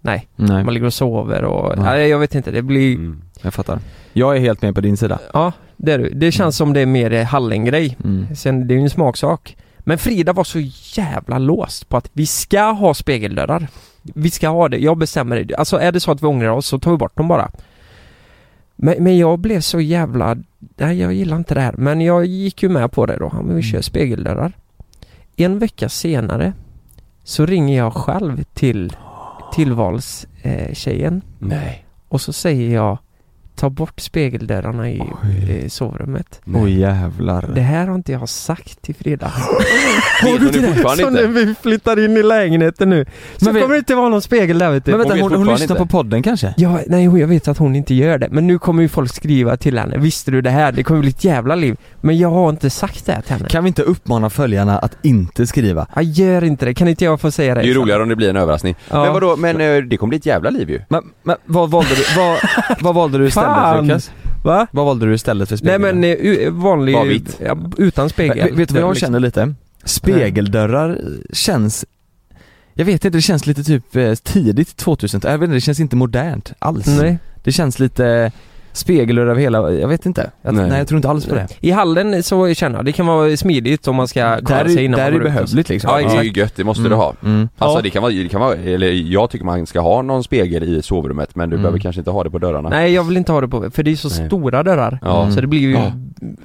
Nej,
man ligger och sover och,
Nej.
nej jag vet inte, det blir,
Mm.
jag fattar Jag är helt med på din sida
ja det, är, det. det känns som det är mer eh, hallengrej.
mm.
Sen, det är ju en smaksak. Men Frida var så jävla låst på att vi ska ha spegeldörrar. Vi ska ha det, jag bestämmer det. Alltså är det så att vi ångrar oss så tar vi bort dem bara. Men, men jag blev så jävla... Nej jag gillar inte det här. Men jag gick ju med på det då. Ja, Men vi kör spegeldörrar. En vecka senare så ringer jag själv till tillvalstjejen eh, tjejen.
Nej.
och så säger jag ta bort spegeldörrarna i eh, sovrummet.
Åh jävlar
Det här har inte jag sagt till Frida.
Har du det? fortfarande
Så när
inte?
vi flyttar in i lägenheten nu så
Men vi-
kommer det inte vara någon spegel där vet du.
Men
Hon
vänta,
vet
hon, hon
fortfarande
lyssnar
inte.
på podden kanske?
Ja, nej jag vet att hon inte gör det. Men nu kommer ju folk skriva till henne. Visste du det här? Det kommer bli ett jävla liv. Men jag har inte sagt det här till henne.
Kan vi inte uppmana följarna att inte skriva?
Jag gör inte det. Kan inte jag få säga
Det
det?
är ju roligare om det blir en överraskning.
Ja.
Men vadå, men eh, det kommer bli ett jävla liv ju.
Men, men vad valde du, vad, vad valde du istället
Fan.
Lukas?
Va?
Vad valde du istället för
Nej
spegeln?
men eh, u- vanlig...
Bara vitt.
Ja, utan spegel.
Men, vet du vad jag
Liksom.
känner lite? Spegeldörrar känns jag vet inte, det känns lite typ eh, tidigt 2000 jag vet inte, det känns inte modernt alls.
Nej.
Det känns lite spegeldörrar över hela, jag vet inte. Jag, nej.
Nej.
jag tror inte alls på det.
I hallen så känner jag, det kan vara smidigt om man ska kolla
Där,
sig
är-
innan
där är
man
det
går ut och så.
behövligt liksom.
Ja,
Det är
exakt.
ju gött, det måste du
Mm.
ha.
Mm.
Alltså
Ja.
det, kan vara, det kan vara, eller jag tycker man ska ha någon spegel i sovrummet men du
Mm.
behöver kanske inte ha det på dörrarna.
Nej jag vill inte ha det på för det är så
Nej.
stora dörrar.
Ja.
Så det blir ju,
Ja.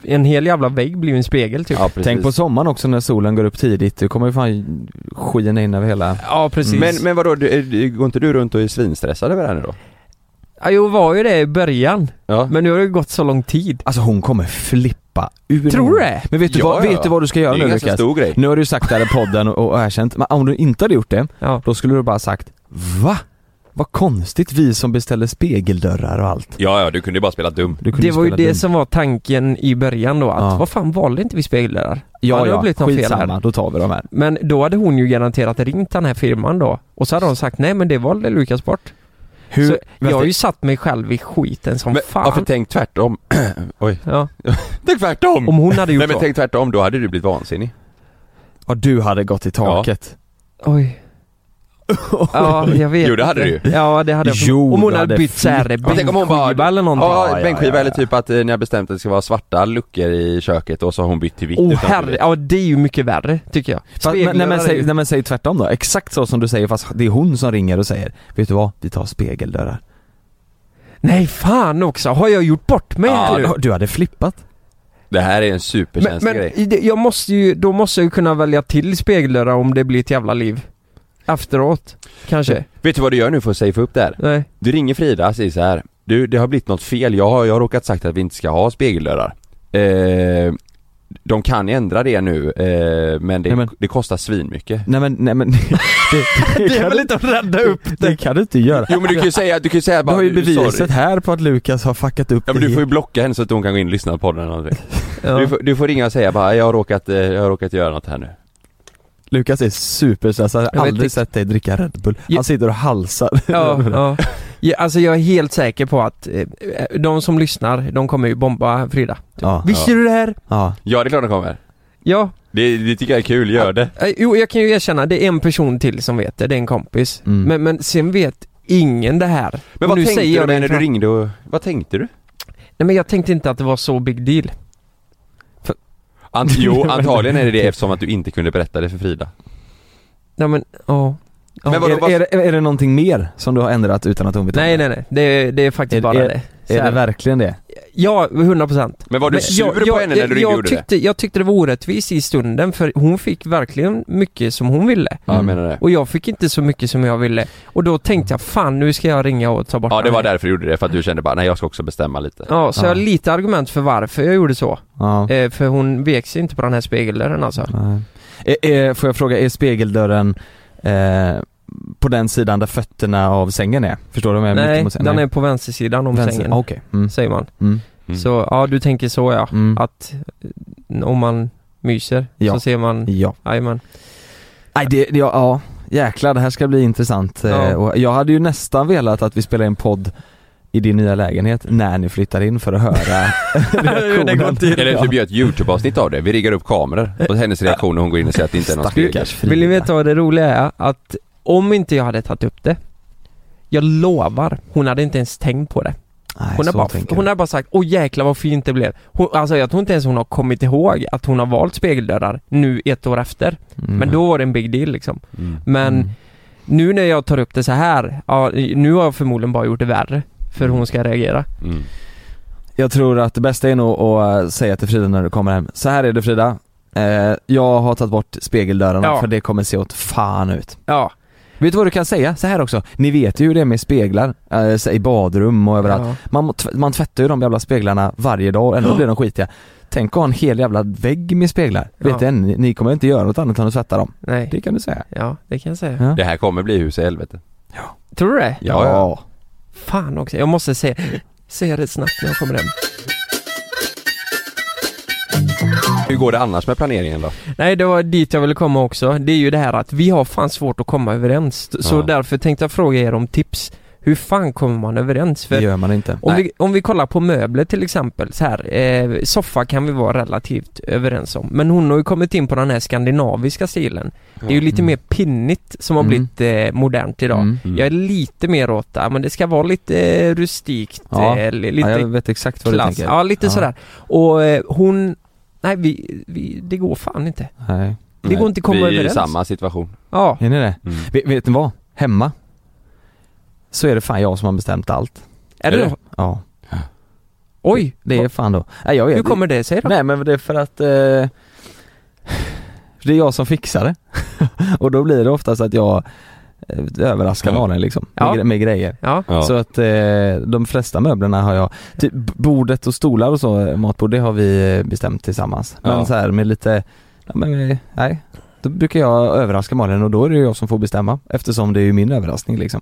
en hel jävla vägg blir ju en spegel typ.
Ja, precis.
Tänk på sommaren också när solen går upp tidigt, du kommer ju fan skina in över hela...
Ja precis.
Men, men vadå, du, du, går inte du runt och är svinstressad över det här nu då?
Ja, jo var ju det i början.
Ja.
Men nu har det gått så lång tid.
Alltså hon kommer flippa ur
Tror du det?
Men vet du,
Ja,
vad,
ja,
vet du vad du ska
Det
göra
är ju
nu
en ganska
Lukas?
stor grej.
Nu har du sagt det här i podden och, och erkänt, men om du inte hade gjort det,
Ja.
då skulle du bara sagt Va? Vad konstigt vi som beställer spegeldörrar och allt.
Ja, ja, du kunde ju bara spela dum.
Du kunde
Det var ju
spela
det
dum.
som var tanken i början då att
Ja.
vad fan valde inte vi spegeldörrar?
Ja,
det har
ja,
blivit något fel
skitsamma,
här.
då tar vi de här.
Men då hade hon ju garanterat ringt den här firman då och så hade hon sagt nej men det valde Lukas bort.
Hur,
så jag
vänta,
har ju satt mig själv i skiten som
Men,
fan.
ja, för tänk tvärtom. Oj.
Ja.
Tänk tvärtom!
Om hon hade gjort
Nej men
så.
tänk tvärtom, då hade du blivit vansinnig.
ja, du hade gått i taket.
Oj. Ja, jag vet
Jo, det hade
inte.
du
Ja, det hade jag.
Jo,
om hon
det
hade
hade
bytt såhär
Ja, tänk om hon bara-
bänkskiva eller någonting.
Ja,
ja,
bänkskiva
ja, ja.
eller typ att eh, ni har bestämt att det ska vara svarta luckor i köket och så har hon bytt till vitt.
Åh
utan att du
herre,
vet.
ja det är ju mycket värre tycker jag.
Fast, men, nej, men
Speglar är
säg,
ju-
nej men säg tvärtom då, exakt så som du säger fast det är hon som ringer och säger Vet du vad? Vi tar spegeldörrar.
Nej fan också, har jag gjort bort mig
Ja,
eller?
du, du hade flippat.
Det här är en
Men,
superkänslig
men
grej.
i det- jag måste ju, då måste jag ju kunna välja till spegeldörrar om det blir ett jävla liv. Efteråt, kanske?
Vet du vad du gör nu för att safea upp det här?
Nej.
Du ringer Frida och säger så här. Du, det har blivit något fel. Jag har, jag har råkat sagt att vi inte ska ha spegeldörrar. Eh, De kan ju ändra det nu, eh, men, det,
Nej, men-
det kostar svinmycket.
Nej men, nej men det, det,
Det är
kan
väl
du,
inte att rädda upp
det
det?
kan du inte göra.
Jo men du kan ju säga, du kan ju säga
Du
bara
har ju
"Du,
beviset
sorry."
här på att Lukas har fuckat upp
Ja men
det
du får ju
helt.
blocka henne så att hon kan gå in och lyssna på podden eller någonting.
Ja.
du, får, du får ringa och säga bara, jag har råkat, eh, jag har råkat göra något här nu.
Lukas är superstressad, jag
Jag
har
vet
aldrig
inte.
sett dig dricka Red Bull.
Ja.
Han sitter och halsar.
Ja, ja. ja, alltså jag är helt säker på att eh, de som lyssnar, de kommer ju bomba Frida.
Ja.
Visste du det här?
Ja.
Ja det är klart de kommer.
Ja,
Det, det tycker jag är kul, gör det.
Eh, Jo, jag kan ju erkänna, det är en person till som vet det, det är en kompis.
Mm.
Men, men sen vet ingen det här.
Men
Och
vad
nu
tänkte
säger
du
jag det
när du
fram-
ringde och, vad tänkte du?
Nej men jag tänkte inte att det var så big deal.
Ant, jo antagligen är det det eftersom att du inte kunde berätta det för Frida.
Nej men, ja. ja.
Men vadå,
är,
vad-
är, det- är det någonting mer som du har ändrat utan att hon vet om
Nej
det?
nej nej, det, är- det är faktiskt
Är-
bara
är-
det. Så
Är det
här.
verkligen det?
Ja, 100 procent.
Men var du sur på henne när du ringde och
jag
gjorde det?
tyckte, jag tyckte det var orättvist i stunden för hon fick verkligen mycket som hon ville.
Ja jag menar det.
Och jag fick inte så mycket som jag ville. Och då tänkte jag, fan nu ska jag ringa och ta bort
Ja det
den
var
här.
därför du gjorde det, för att du kände bara, nej jag ska också bestämma lite.
Ja, så
Ja.
jag har lite argument för varför jag gjorde så.
Ja.
Eh, för hon vek sig inte på den här spegeldörren alltså.
Nej. Är, är, får jag fråga, är spegeldörren eh, på den sidan där fötterna av sängen är? Förstår du? vad jag menar?
Nej,
Mittemot sängen?
den är på vänstersidan om
Vänster-
sängen,
Ah, Okej. Mm.
säger man.
Mm.
Mm.
Så, ja du tänker så ja.
Mm.
Att eh, om man myser
Ja.
så ser man,
Ja.
jajamän.
Nej, det, det, ja, ja. Jäklar, det här ska bli intressant. Eh,
Ja.
Och jag hade ju nästan velat att vi spelar en podd i din nya lägenhet när ni flyttar in för att höra reaktionen.
Det går inte
Eller typ gör ett youtube-avsnitt av det, vi riggar upp kameror och hennes reaktion när hon går in och säger att det inte är någon spegel.
Stackars Frida.
Vill ni veta vad det roliga är? Att om inte jag hade tagit upp det jag lovar, hon hade inte ens tänkt på det.
Nej,
Hon,
så
har, bara,
tänker
hon
jag.
har bara sagt 'Åh jäklar vad fint det blev' hon, Alltså jag tror inte ens hon har kommit ihåg att hon har valt spegeldörrar nu ett år efter.
Mm.
Men då var det en big deal liksom.
Mm.
Men
Mm.
nu när jag tar upp det så här, ja, nu har jag förmodligen bara gjort det värre. För hon ska reagera.
Mm.
Jag tror att det bästa är nog att eh, säga till Frida när du kommer hem. Så här är det Frida. Eh, jag har tagit bort spegeldörrarna
Ja.
för det kommer se åt fan ut.
Ja.
Vet du vad du kan säga? Så här också, ni vet ju hur det är med speglar eh, så- i badrum och överallt.
ja.
Man, må- tv- man tvättar ju de jävla speglarna varje dag och ändå blir de skitiga. Tänk att ha en hel jävla vägg med speglar.
Ja.
Vet du, ni, ni kommer inte göra något annat än att tvätta dem.
Nej.
Det kan du säga.
Ja, det kan jag säga.
Ja.
Det här kommer bli hus i helvete.
Tror du det?
Ja, ja.
Fan också, jag måste säga, säga det snabbt när jag kommer hem.
Hur går det annars med planeringen då?
Nej, det var dit jag ville komma också. Det är ju det här att vi har fan svårt att komma överens. Så
Ja.
därför tänkte jag fråga er om tips. Hur fan kommer man överens? För
det gör man inte.
Om
Nej.
vi, om vi kollar på möbler till exempel, så här, eh, soffa kan vi vara relativt överens om. Men hon har ju kommit in på den här skandinaviska stilen. Det är ju lite
Mm.
mer pinnigt som har
Mm.
blivit eh, modernt idag.
Mm.
Mm.
Jag är lite mer åt det, men det ska vara lite eh, rustikt,
Ja.
eh, li- lite
ja, jag vet exakt vad
klass.
du tänker.
Ja, lite
Ja.
sådär. Och eh, hon, nej vi, vi, det går fan inte.
Nej.
Det
Nej.
går inte att komma
vi är i
överens.
samma situation.
Ja,
Är ni det?
Mm.
Vet, vet ni vad? Hemma så är det fan jag som har bestämt allt.
är det,
Är det?
då?
Ja.
Oj!
Det är fan då. Nej, jag vet.
Hur kommer det sig då?
Nej men det är för att eh, det är jag som fixar det. och då blir det oftast att jag eh, överraskar
Ja.
någon liksom med,
Ja.
gre- med grejer.
Ja,
Ja.
Så att eh, de flesta möblerna har jag, typ bordet och stolar och så, eh, matbord det har vi eh, bestämt tillsammans. Men
Ja.
så här med lite, ja, men, eh, nej. Då brukar jag överraska Malin och då är det ju jag som får bestämma eftersom det är ju min överraskning liksom.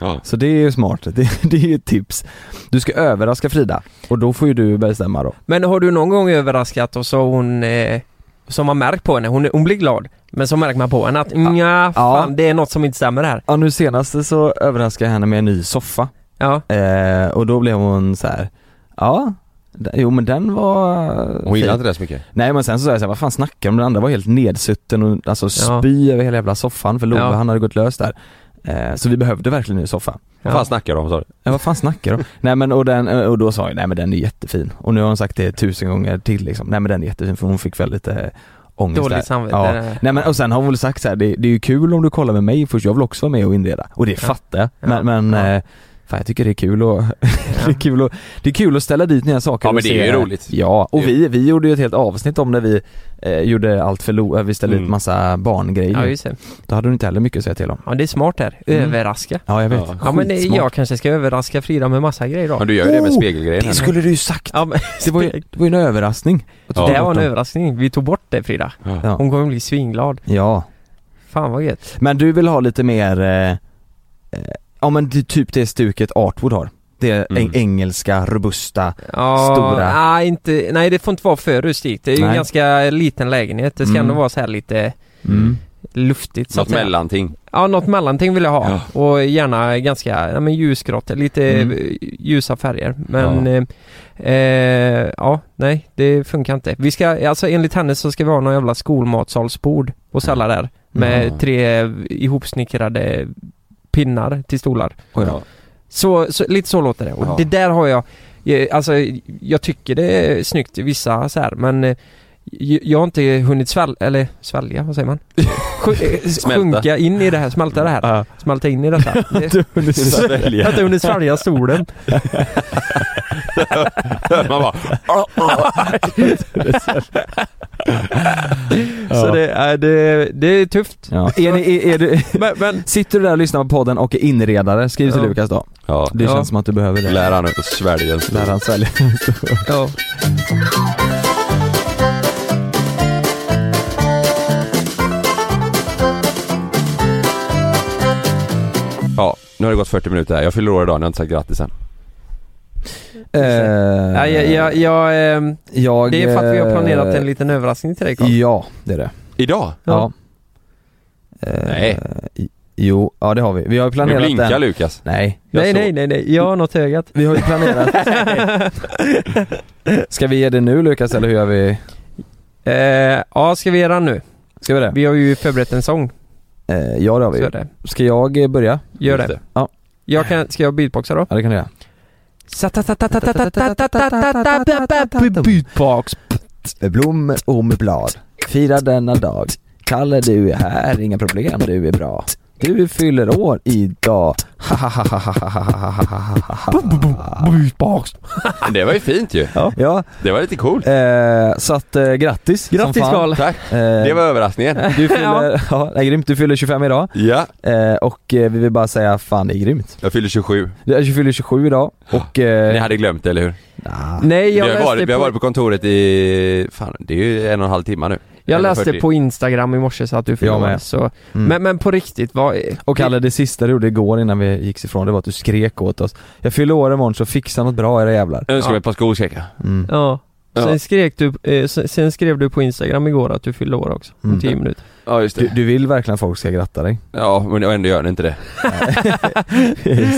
Ja.
Så det är ju smart, det, det är ju ett tips. Du ska överraska Frida och då får ju du bestämma då.
men har du någon gång överraskat och så har hon eh, som har märkt på henne, hon, hon blir glad men så märker man på henne att nja, fan det är något som inte stämmer här.
Ja nu senaste så överraskade jag henne med en ny soffa
Ja,
eh, och då blev hon så här. ja d- Jo men den var
Hon gillar
fin."
inte det så mycket.
Nej men sen så sa jag såhär, vad fan snackar du om? Den andra var helt nedsutten och alltså spy över hela jävla soffan för Love
Ja.
han hade gått lös där eh, Så vi behövde verkligen en ny soffa
Vad
Ja.
fan snackar du om sa du?
Ja vad fan snackar du om? Nej men och, den, och då sa jag, nej men den är jättefin Och nu har hon sagt det tusen gånger till liksom, nej men den är jättefin för hon fick väl lite eh, ångest där
dåligt samvete.
Ja.
Ja.
Nej men och sen har hon väl sagt så här, det, det är ju kul om du kollar med mig först, jag vill också vara med och inreda. Och det fattar jag.
Ja.
Men, men
Ja.
eh, Fan jag tycker det är kul att, det, är kul att det är kul att ställa dit nya saker
Ja, men
och
det
se-
är ju roligt.
Ja, och
Jo.
vi, vi gjorde ju ett helt avsnitt om när vi eh, gjorde allt för lo- eh, vi ställde
Mm.
ut massa barngrejer
Ja, just det.
Då hade du inte heller mycket att säga till om
Ja, det är smart där.
Mm.
Överraska.
Ja jag vet,
Ja.
Ja, men eh,
Skitsmart.
jag kanske ska överraska Frida med massa grejer då.
Men du gör ju det med
Oh,
spegelgrejen.
Det
här.
skulle du ju sagt!
Ja, men,
Det var ju, det var ju en överraskning Att
Ja.
ta
det
bort
var en
dem.
överraskning. Vi tog bort det Frida.
Ja.
Ja.
Hon kommer bli svinglad.
ja,
Fan vad gött.
men du vill ha lite mer, eh, eh, ja men det, typ det stuket Artwood har Det
Mm.
eng- engelska, robusta
Ja,
Stora.
Nej, inte, nej, det får inte vara för rustikt. Det är ju en
Nej.
ganska liten lägenhet. Det ska
Mm.
ändå vara så här lite
mm.
luftigt så
Något
att säga.
mellanting.
Ja, något mellanting vill jag ha. Och gärna ganska, ja men ljusgrått, lite
Mm.
eh, ljusa färger. Men, ja. Eh, eh, ja, nej, det funkar inte. Vi ska, alltså enligt henne så ska vi ha någon jävla skolmatsalsbord hos alla där. Med
Mm.
tre ihopsnickrade pinnar till stolar.
Oj då.
Så, så lite så låter det. Och
Ja.
det där har jag, eh, alltså jag tycker det är snyggt i vissa så här men eh, j- jag har inte hunnit svälja, eller svälja, vad säger man? Sj- eh,
Smälta.
Sjunka in i det här, smälta det här.
Ja.
Smälta in i detta. Det- Jag har inte hunnit svälja stolen.
Man bara,
Så det, är- det, det är tufft.
Ja. Är ni, är, är du,
Men, men
sitter du där och lyssnar på podden och är inredare, skriv till
Ja.
Lukas då
ja.
Det
Ja.
känns som att du behöver det
Lär han ut att svälja.
Lär han sälja
ja.
Ja, nu har det gått 40 minuter här. Jag fyller år idag, ni har inte sagt grattis än.
Eh,
Ja, jag, jag, jag, ehm,
jag,
det är för att vi har planerat
eh,
en liten överraskning till dig Carl.
Ja, det är det.
Idag?
Ja.
Ja.
Eh,
Nej.
i- Jo, ja det har vi. Vi har ju
Nu
planerat
blinkar
den.
Lukas.
Nej. jag
Nej
såg-
nej nej nej, jag har något i ögat.
Vi har ju planerat. Ska vi ge det nu Lukas eller hur gör vi?
eh, ja, ska vi göra nu?
Ska vi det?
Vi har ju förberett en sång.
Eh, ja det har vi.
Så
ju.
är det.
Ska jag eh, börja?
Gör
Just
det.
Ja.
Jag kan, ska jag beatboxa då?
Ja det kan du göra.
Beatbox.
Blom och med blad. Fira denna dag. Kalle du är här, inga problem, du är bra. Du fyller år idag.
Beatbox.
Det var ju fint ju.
Ja,
Det var lite coolt.
eh, så att eh, grattis som
Grattis
fan.
Carl.
Tack.
Eh,
Det var överraskningen.
Du fyller, ja. nej, grymt, du fyller 25 idag
Ja,
eh, och eh, vi vill bara säga fan det är grymt.
jag fyller 27.
Du är- du fyller 27 idag och... Eh,
Ni hade glömt det, eller hur?
nah.
Nej,
Vi
jag
har, varit, vi
läste
har varit
på,
på kontoret i, fan det är ju en och en halv timme nu.
jag läste
1.40.
på Instagram i morse så att du
Jag
förlorade.
med.
Så,
Mm.
men, men på riktigt, vad...
och Kalle det sista du gjorde igår innan vi gick ifrån det var att du skrek åt oss Jag fyller år imorgon så fixa något bra era jävlar.
Önskar
Ja.
mig ett par skosäckar.
Mm.
Ja. Sen,
Ja.
Skrek du, eh, sen, sen skrev du på Instagram igår att du fyllde år också, om
Mm.
10 minuter.
Ja just
Du,
det.
du vill verkligen att folk ska gratta dig.
Ja men ändå gör ni inte det.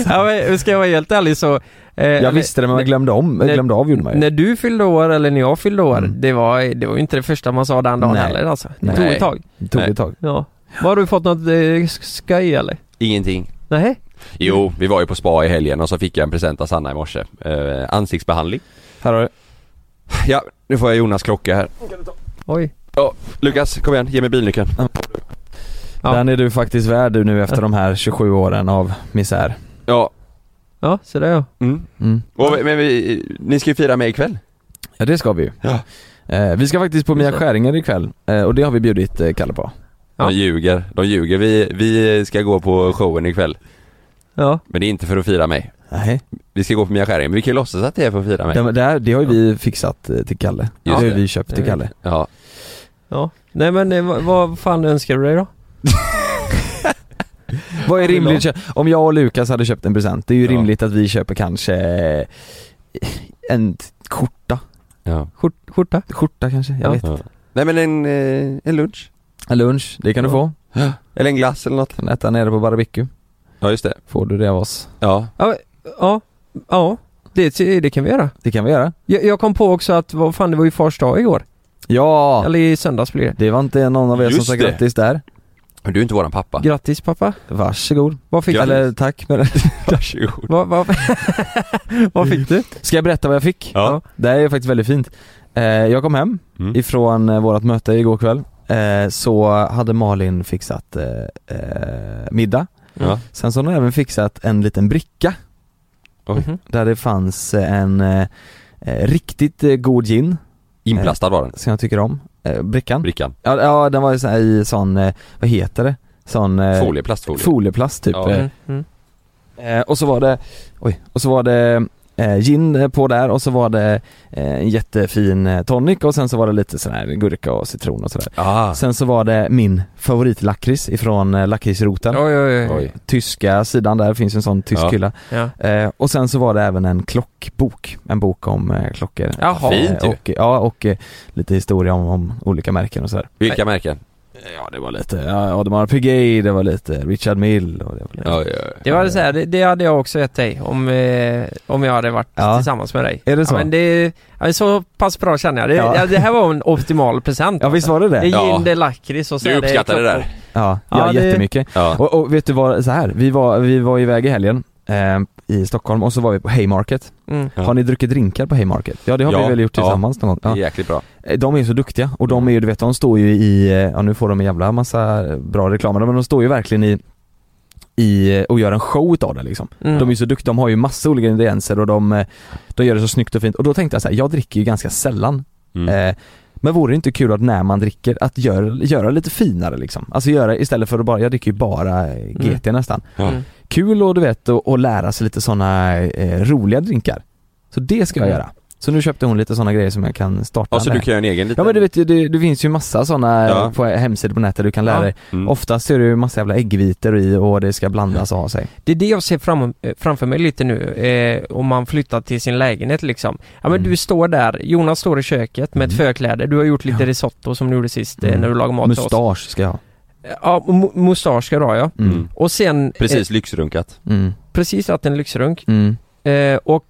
ja, men, ska jag vara helt ärlig så... eh,
Jag visste det men jag glömde om, jag
Nej.
glömde av gjorde man ju.
När du fyllde år eller när jag fyllde år,
Mm.
det, var, det var ju inte det första man sa den dagen
Nej.
heller alltså. Det
Nej.
tog ett tag.
Det tog ett tag.
Ja. Har du fått något eh, skoj eller?
Ingenting.
Nej?
Jo, vi var ju på spa i helgen och så fick jag en present av Sanna i morse. Eh, ansiktsbehandling.
Här har du.
Ja, nu får jag Jonas klocka här.
Oj.
Ja, Lukas kom igen, ge mig bilnyckeln.
Ja.
Den är du faktiskt värd du nu efter de här 27 åren av misär.
Ja.
Ja, så där ja.
Mm.
Mm.
Och, vi- men vi, ni ska ju fira mig ikväll.
Ja det ska vi ju.
Ja.
Eh, vi ska faktiskt på Mia Skäringer ikväll eh, och det har vi bjudit eh, Kalle på.
Ja.
De ljuger, de ljuger. Vi, vi ska gå på showen ikväll.
Ja.
Men det är inte för att fira mig.
Nej.
Vi ska gå på Mia Skäring, men vi kan ju låtsas att det är för att fira mig.
Det, det, här, det har ju vi fixat eh, till Kalle. det har ju
det.
vi köpt till
Jag
Kalle.
Ja.
ja. Nej men eh, vad, vad fan önskar du dig då?
Vad är rimligt? att kö- Om jag och Lukas hade köpt en present, det är ju
Ja.
rimligt att vi köper kanske eh, en t- skjorta.
ja.
Skjort, skjorta?
Skjorta kanske? Jag
Ja.
vet.
ja. Nej men en, eh, en lunch.
En lunch, det kan du
Ja.
få.
Eller en glass eller något.
Kan äta nere på barbecue.
Ja just det.
Får du det av oss.
Ja.
Ja. Ja. Det, det kan vi göra.
Det kan vi göra.
Jag, jag kom på också att, vad fan det var ju fars dag igår.
Ja!
Eller i söndags blir det.
Det var inte någon av er som
Just
sa
det.
grattis där.
Men du är inte våran pappa.
Grattis pappa.
Varsågod.
Vad fick
Grattis.
du?
Eller tack men...
Varsågod.
Vad, vad, vad fick du?
Ska jag berätta vad jag fick?
Ja.
Det här är faktiskt väldigt fint. Eh, jag kom hem
Mm.
ifrån eh, vårt möte igår kväll. Eh, så hade Malin fixat eh, eh, middag.
Ja.
Sen så har hon även fixat en liten bricka
Mhm.
Där det fanns eh, en eh, eh, riktigt eh, god gin
Inplastad var den.
Som jag tycker om, eh, brickan
Brickan.
ja, ja den var ju så här i sån, eh, vad heter det? Sån eh,
Folieplast, folie.
folieplast typ
Ja.
eh,
Mm. Mm.
Eh, och så var det, oj, och så var det eh, gin på där och så var det eh, en jättefin eh, tonic och sen så var det lite sån här gurka och citron och sådär.
Ah.
Sen så var det min favoritlakrits ifrån eh, lakritsroten.
Oj, oj, oj.
Oj.
Tyska sidan där finns en sån tysk
Ja.
hylla.
Ja.
Eh, och sen så var det även en klockbok, en bok om eh, klockor.
Jaha.
Fint ju.
och, Ja, och eh, lite historia om, om olika märken och sådär.
Vilka märken?
Ja, det var lite ja, Audemars Piguet, det var lite Richard Mill och det var lite...
Ja, ja, ja.
Det, var så här, det, det hade jag också gett dig om, eh, om jag hade varit
Ja.
tillsammans med dig.
Är det så?
Ja, men det, ja, så pass bra känner jag. Det,
Ja.
ja. det här var en optimal present.
Ja, visst var det det?
Det är
Ja.
gin, det är lakrits och så
Du
är det
uppskattade det där?
Ja,
Ja,
ja,
det-
jättemycket.
Ja.
Och, och vet du vad, så här, vi var, vi var iväg i helgen eh, i Stockholm och så var vi på Haymarket.
Mm.
Ja.
Har ni druckit drinkar på Haymarket? Ja det har vi
Ja,
väl gjort
ja.
tillsammans någon gång? Ja.
Jäkligt bra. Mm.
Eh, De är ju så duktiga och de är ju, du vet de står ju i, eh, ja nu får de en jävla massa eh, bra reklam men de står ju verkligen i i, eh, och gör en show utav det liksom.
Mm.
De är ju så duktiga, de har ju massa olika ingredienser och de, eh, de gör det så snyggt och fint och då tänkte jag så här, jag dricker ju ganska sällan
Mm.
Eh, men vore det inte kul att när man dricker, att göra, göra lite finare liksom? Alltså göra istället för att bara, jag dricker ju bara eh, GT nästan.
Ja.
Mm.
Kul och du vet, och, och lära sig lite sådana eh, roliga drinkar. Så det ska jag
Mm.
göra. Så nu köpte hon lite sådana grejer som jag kan starta
Ja, så
med.
du kan göra en egen liten...
Ja men du vet ju, det, det finns ju massa sådana
Ja.
på hemsidor på nätet du kan lära
Ja.
dig.
Mm.
Oftast är det ju massa jävla äggvitor i och det ska blandas och ha sig.
Det är det jag ser fram, eh, framför mig lite nu, eh, om man flyttar till sin lägenhet liksom. Ja men
Mm.
du står där, Jonas står i köket med ett
Mm.
förkläde, du har gjort lite risotto som du gjorde sist eh,
Mm.
när du lagade mat till oss.
Mustasch ska jag ha.
Ja, mu- mustasch ska du ha ja.
Mm.
Mm.
Och sen... eh,
Precis, lyxrunkat.
Mm.
precis att en lyxrunk.
Mm.
Eh, och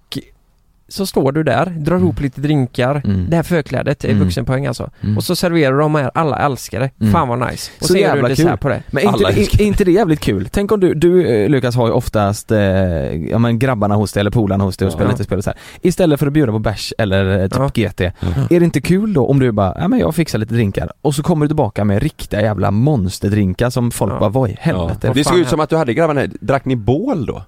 så står du där, drar ihop lite drinkar.
Mm.
Det här förklädet är
Mm.
vuxenpoäng alltså.
Mm.
Och så serverar de här, alla älskar det.
Mm.
Fan vad nice. Och
Så
så, gör du
jävla
en dessert
kul.
på det.
Men är
Alla
inte, är,
älskar-
är inte det jävligt kul? Tänk om du, du eh, Lukas har ju oftast, eh, ja men grabbarna hos dig eller polarna hos dig och
Ja.
spelar lite spel och så här. Istället för att bjuda på bärs eller eh, typ GT, är det inte kul då om du bara, ja men jag fixar lite drinkar och så kommer du tillbaka med riktiga jävla monsterdrinkar som folk
Ja.
bara, vad i helvete?
Ja. Det såg
fan
ut som att du hade grabbarna, drack ni bål då?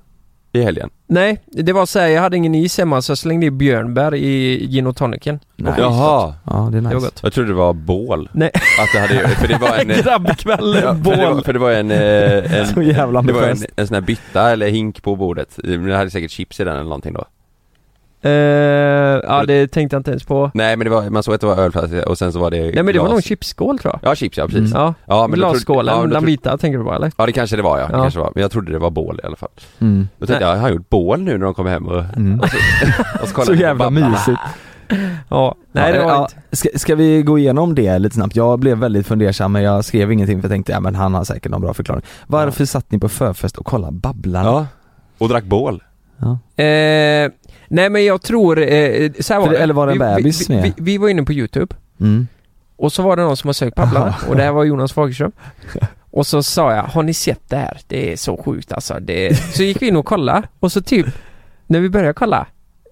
I helgen?
Nej, det var så här, jag hade ingen is hemma så jag slängde i björnbär i gin och tonicen.
Nej.
Jaha,
Ja det är
Det var
nice.
gott.
jag trodde det var bål.
Nej.
Att det hade, för det var en...
Grabbkväll,
Ja, för, det var,
bål.
för det var en... eh, en
Så jävla
det var en,
ambitiöst.
en sån här bytta eller hink på bordet. Det hade säkert chips i den eller någonting då.
Eh, ja, det tänkte jag inte ens på.
Nej men det var, man såg att det var ölflaska och sen så var det
Nej men det var
glas.
någon chipsskål tror jag.
Ja, chips ja, precis.
Mm.
Ja,
Ja, men jag trodde- ja,
glasskålen,
men jag
den
trodde-
vita tänker du på eller?
Ja det kanske det var ja, det
Ja.
kanske var. Men jag trodde det var bål i alla fall.
Mm.
Då tänkte jag, har han gjort bål nu när de kommer hem och,
Mm.
och så kollar
Så
vi på
jävla
Babblarna?
mysigt.
Ja, nej det var
ja,
inte.
ska, ska vi gå igenom det lite snabbt? Jag blev väldigt fundersam men jag skrev ingenting för jag tänkte, ja men han har säkert någon bra förklaring. Varför satt ni på förfest och kollade Babblarna?
Ja. Och drack bål.
Ja.
Eh, nej men jag tror, eh, så här var
För-
det.
eller var det en
vi,
bebis
vi,
med?
vi, vi var inne på youtube
Mm.
och så var det någon som har sökt Babblarna och det här var Jonas Fagerström. Och så sa jag, har ni sett det här? Det är så sjukt alltså. Det... Så gick vi in och kollade och så typ, när vi började kolla,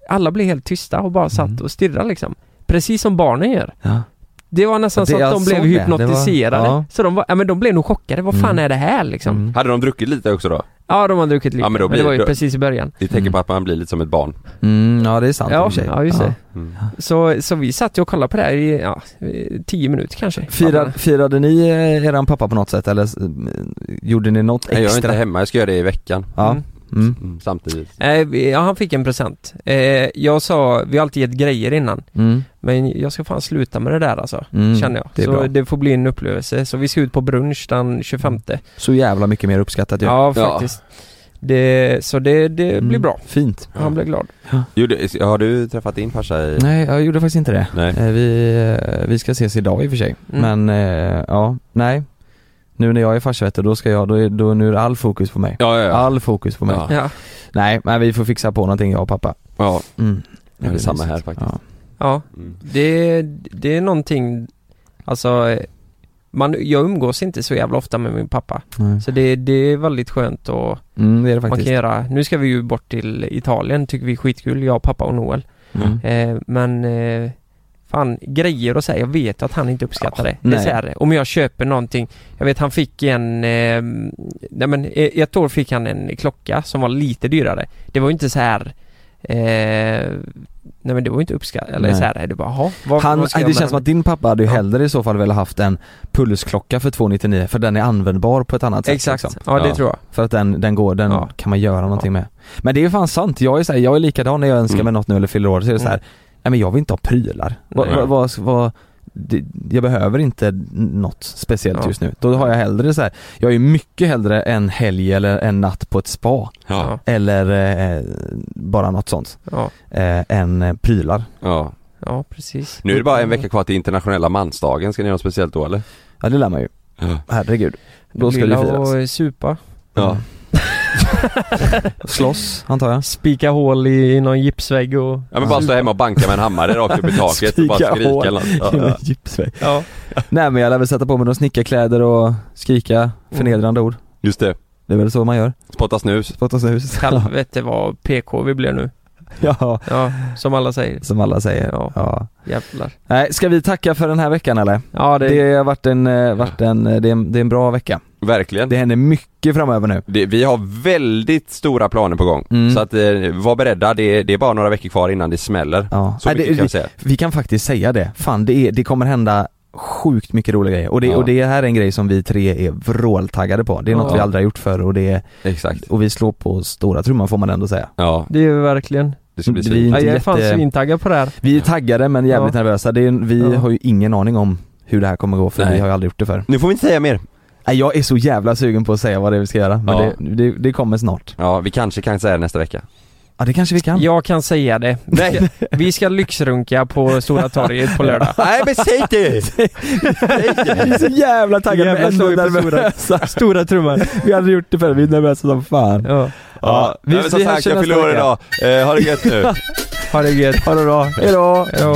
alla blev helt tysta och
Mm.
bara satt och stirrade liksom. Precis som barnen gör.
Ja.
Det var nästan
Ja, det
så att
jag
de blev
såg det. Det var-
hypnotiserade.
ja.
Så de var, ja men de blev nog chockade. Vad fan
Mm.
är det här liksom?
Mm.
Hade de druckit lite också då?
Ja, de har druckit lite.
Ja, men då
men,
blir-
det var ju
då-
precis i början.
Det är tecken
Mm.
på att man blir lite som ett barn.
Mm, ja det är sant i och
Ja,
för sig.
ja, just det.
Mm.
Så, så vi satt ju och kollade på det här i, ja, eh, tio minuter kanske.
Firar, firade ni eh, eran pappa på något sätt eller s- m- gjorde ni något
Nej, jag är inte
extra?
hemma, jag ska göra det i veckan.
ja.
Mm.
Mm.
Mm. Samtidigt.
Nej, vi- ja, han fick en present. Eh, jag sa, vi har alltid gett grejer innan.
Mm.
Men jag ska fan sluta med det där alltså.
Mm.
Känner jag.
Det är
så
bra.
det får bli en upplevelse. Så vi ska ut på brunch den 25.
Så jävla mycket mer uppskattat ju.
Ja,
Ja.
faktiskt. Det, så det, det
Mm.
blir bra.
Fint.
Han blev glad.
Gjorde, har du träffat din farsa i...
Nej, jag gjorde faktiskt inte det.
Typ. Nej.
Eh, Vi, eh, vi ska ses idag i och för sig.
Mm.
Men eh, ja, nej. Nu när jag är farsa vet du, då ska jag, då är, då, nu är det all fokus på mig.
Ja, ja, ja.
All fokus på mig.
Ja.
Ja.
Nej, men vi får fixa på någonting jag och pappa.
ja.
Mm.
det är
blir
samma
mysigt.
här faktiskt.
Ja.
ja.
Mm.
Det, det är någonting, alltså eh, man, jag umgås inte så jävla ofta med min pappa.
Nej.
Så det, det är väldigt skönt att
Mm, det är det
man
faktiskt.
kan göra. Nu ska vi ju bort till Italien, tycker vi är skitkul, jag, pappa och Noel.
Mm.
Eh, men eh, fan, grejer och så här, jag vet att han inte uppskattar det. Det är
nej.
så här, om jag köper någonting, jag vet han fick en, eh, nej men eh, ett år fick han en klocka som var lite dyrare. Det var ju inte så här eh, Nej men det var ju inte uppskattat, eller
Nej.
så här, det bara, jaha, vad,
Han, eh,
vad ska jag
det
med
känns som
den?
att din pappa hade ju hellre i så fall velat haft en pulsklocka för 299 för den är användbar på ett annat sätt liksom.
Exakt, ja det tror jag
För att den, den går, den
Ja.
kan man göra någonting med Men det är ju fan sant, jag är så här, jag är likadan när jag
Mm.
önskar mig något nu eller fyller år så är det så här,
Mm.
nej men jag vill inte ha prylar vad,
Nej.
vad, vad, vad det, jag behöver inte något speciellt
Ja.
just nu. Då har jag hellre så här. jag är mycket hellre en helg eller en natt på ett spa
Ja.
eller eh, bara något sånt,
Ja,
eh, än eh, prylar.
ja.
ja precis Mm.
Nu är det bara en vecka kvar till internationella mansdagen, ska ni göra något speciellt då eller?
Ja det lär man ju.
Ja.
Herregud. Då ska det
Grilla
firas.
och supa
Ja.
Slåss, antar jag.
Spika hål i någon gipsvägg och
Ja men bara stå hemma och banka med en hammare rakt upp i taket och bara
Skrika
skrika
hål.
eller något.
Ja.
Ja.
Gipsvägg.
Ja,
Nej men jag lär väl sätta på mig några snickarkläder och skrika förnedrande ord.
Just det,
Det är väl så man gör.
spotta snus.
Spotta snus.
helvete vad PK vi blev nu
ja,
Ja, som alla säger
som alla säger.
Ja.
Ja.
Jävlar
Nej, ska vi tacka för den här veckan eller?
Ja det,
Det har varit en, eh, varit en, eh, det är en, det är en bra vecka.
Verkligen.
Det händer mycket framöver nu.
Det, vi har väldigt stora planer på gång.
Mm.
Så att eh, var beredda, det, det är bara några veckor kvar innan det smäller.
Ja.
Så
Nej,
mycket kan
det, vi,
jag säga.
vi kan faktiskt säga det. Fan, det, är, det kommer hända sjukt mycket roliga grejer. Och det,
Ja.
och det här är en grej som vi tre är vråltaggade på. Det är något
Ja.
vi aldrig har gjort förr och, det är,
Exakt.
och vi slår på stora trumman får man ändå säga.
Ja,
det är verkligen
det ska bli
Det
svin.
blir
ja,
inte
Jag är fan
jätte-
svintaggad på det här
Vi är taggade men jävligt
Ja.
nervösa. Det är, vi
Ja.
har ju ingen aning om hur det här kommer gå för
Nej.
vi har ju aldrig gjort det förr.
Nu får vi inte säga mer.
Nej, jag är så jävla sugen på att säga vad det är vi ska göra men
Ja.
det, det, det kommer snart.
Ja, vi kanske kan säga det nästa vecka.
Ja det kanske vi kan.
Jag kan säga det Nej. Vi ska lyxrunka på Stora torget på lördag
Nej men säg det!
Vi är så jävla taggade
Jävla
men ändå
slår vi på
nervösa.
Stora trumman
Vi har aldrig gjort det förr, vi är nervösa som fan.
Ja,
Ja, vi, men som
vi hörs
sagt, jag
nästa
fyller år
vecka.
idag. Eh, ha det gött nu.
ha det gött
Ha det bra, hejdå!
Ja.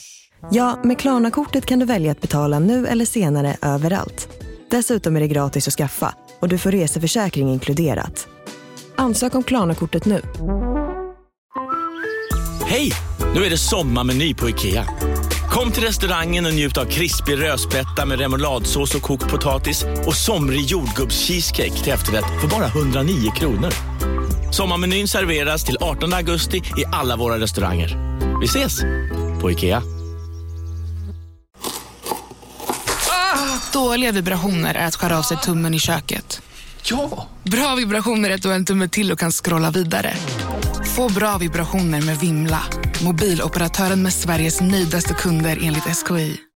Ja, med Klarna-kortet kan du välja att betala nu eller senare överallt. Dessutom är det gratis att skaffa och du får reseförsäkring inkluderat. Ansök om Klarna-kortet nu.
Hej! Nu är det sommarmeny på IKEA. Kom till restaurangen och njut av krispig rödspätta med remouladsås och kokt potatis och somrig jordgubbscheesecake till efterrätt för bara 109 kronor. Sommarmenyn serveras till 18 augusti i alla våra restauranger. Vi ses! På IKEA.
Dåliga vibrationer är att skära av sig tummen i köket.
Ja!
Bra vibrationer är att du har en tumme till och kan scrolla vidare. Få bra vibrationer med Vimla. Mobiloperatören med Sveriges nöjdaste kunder enligt SKI.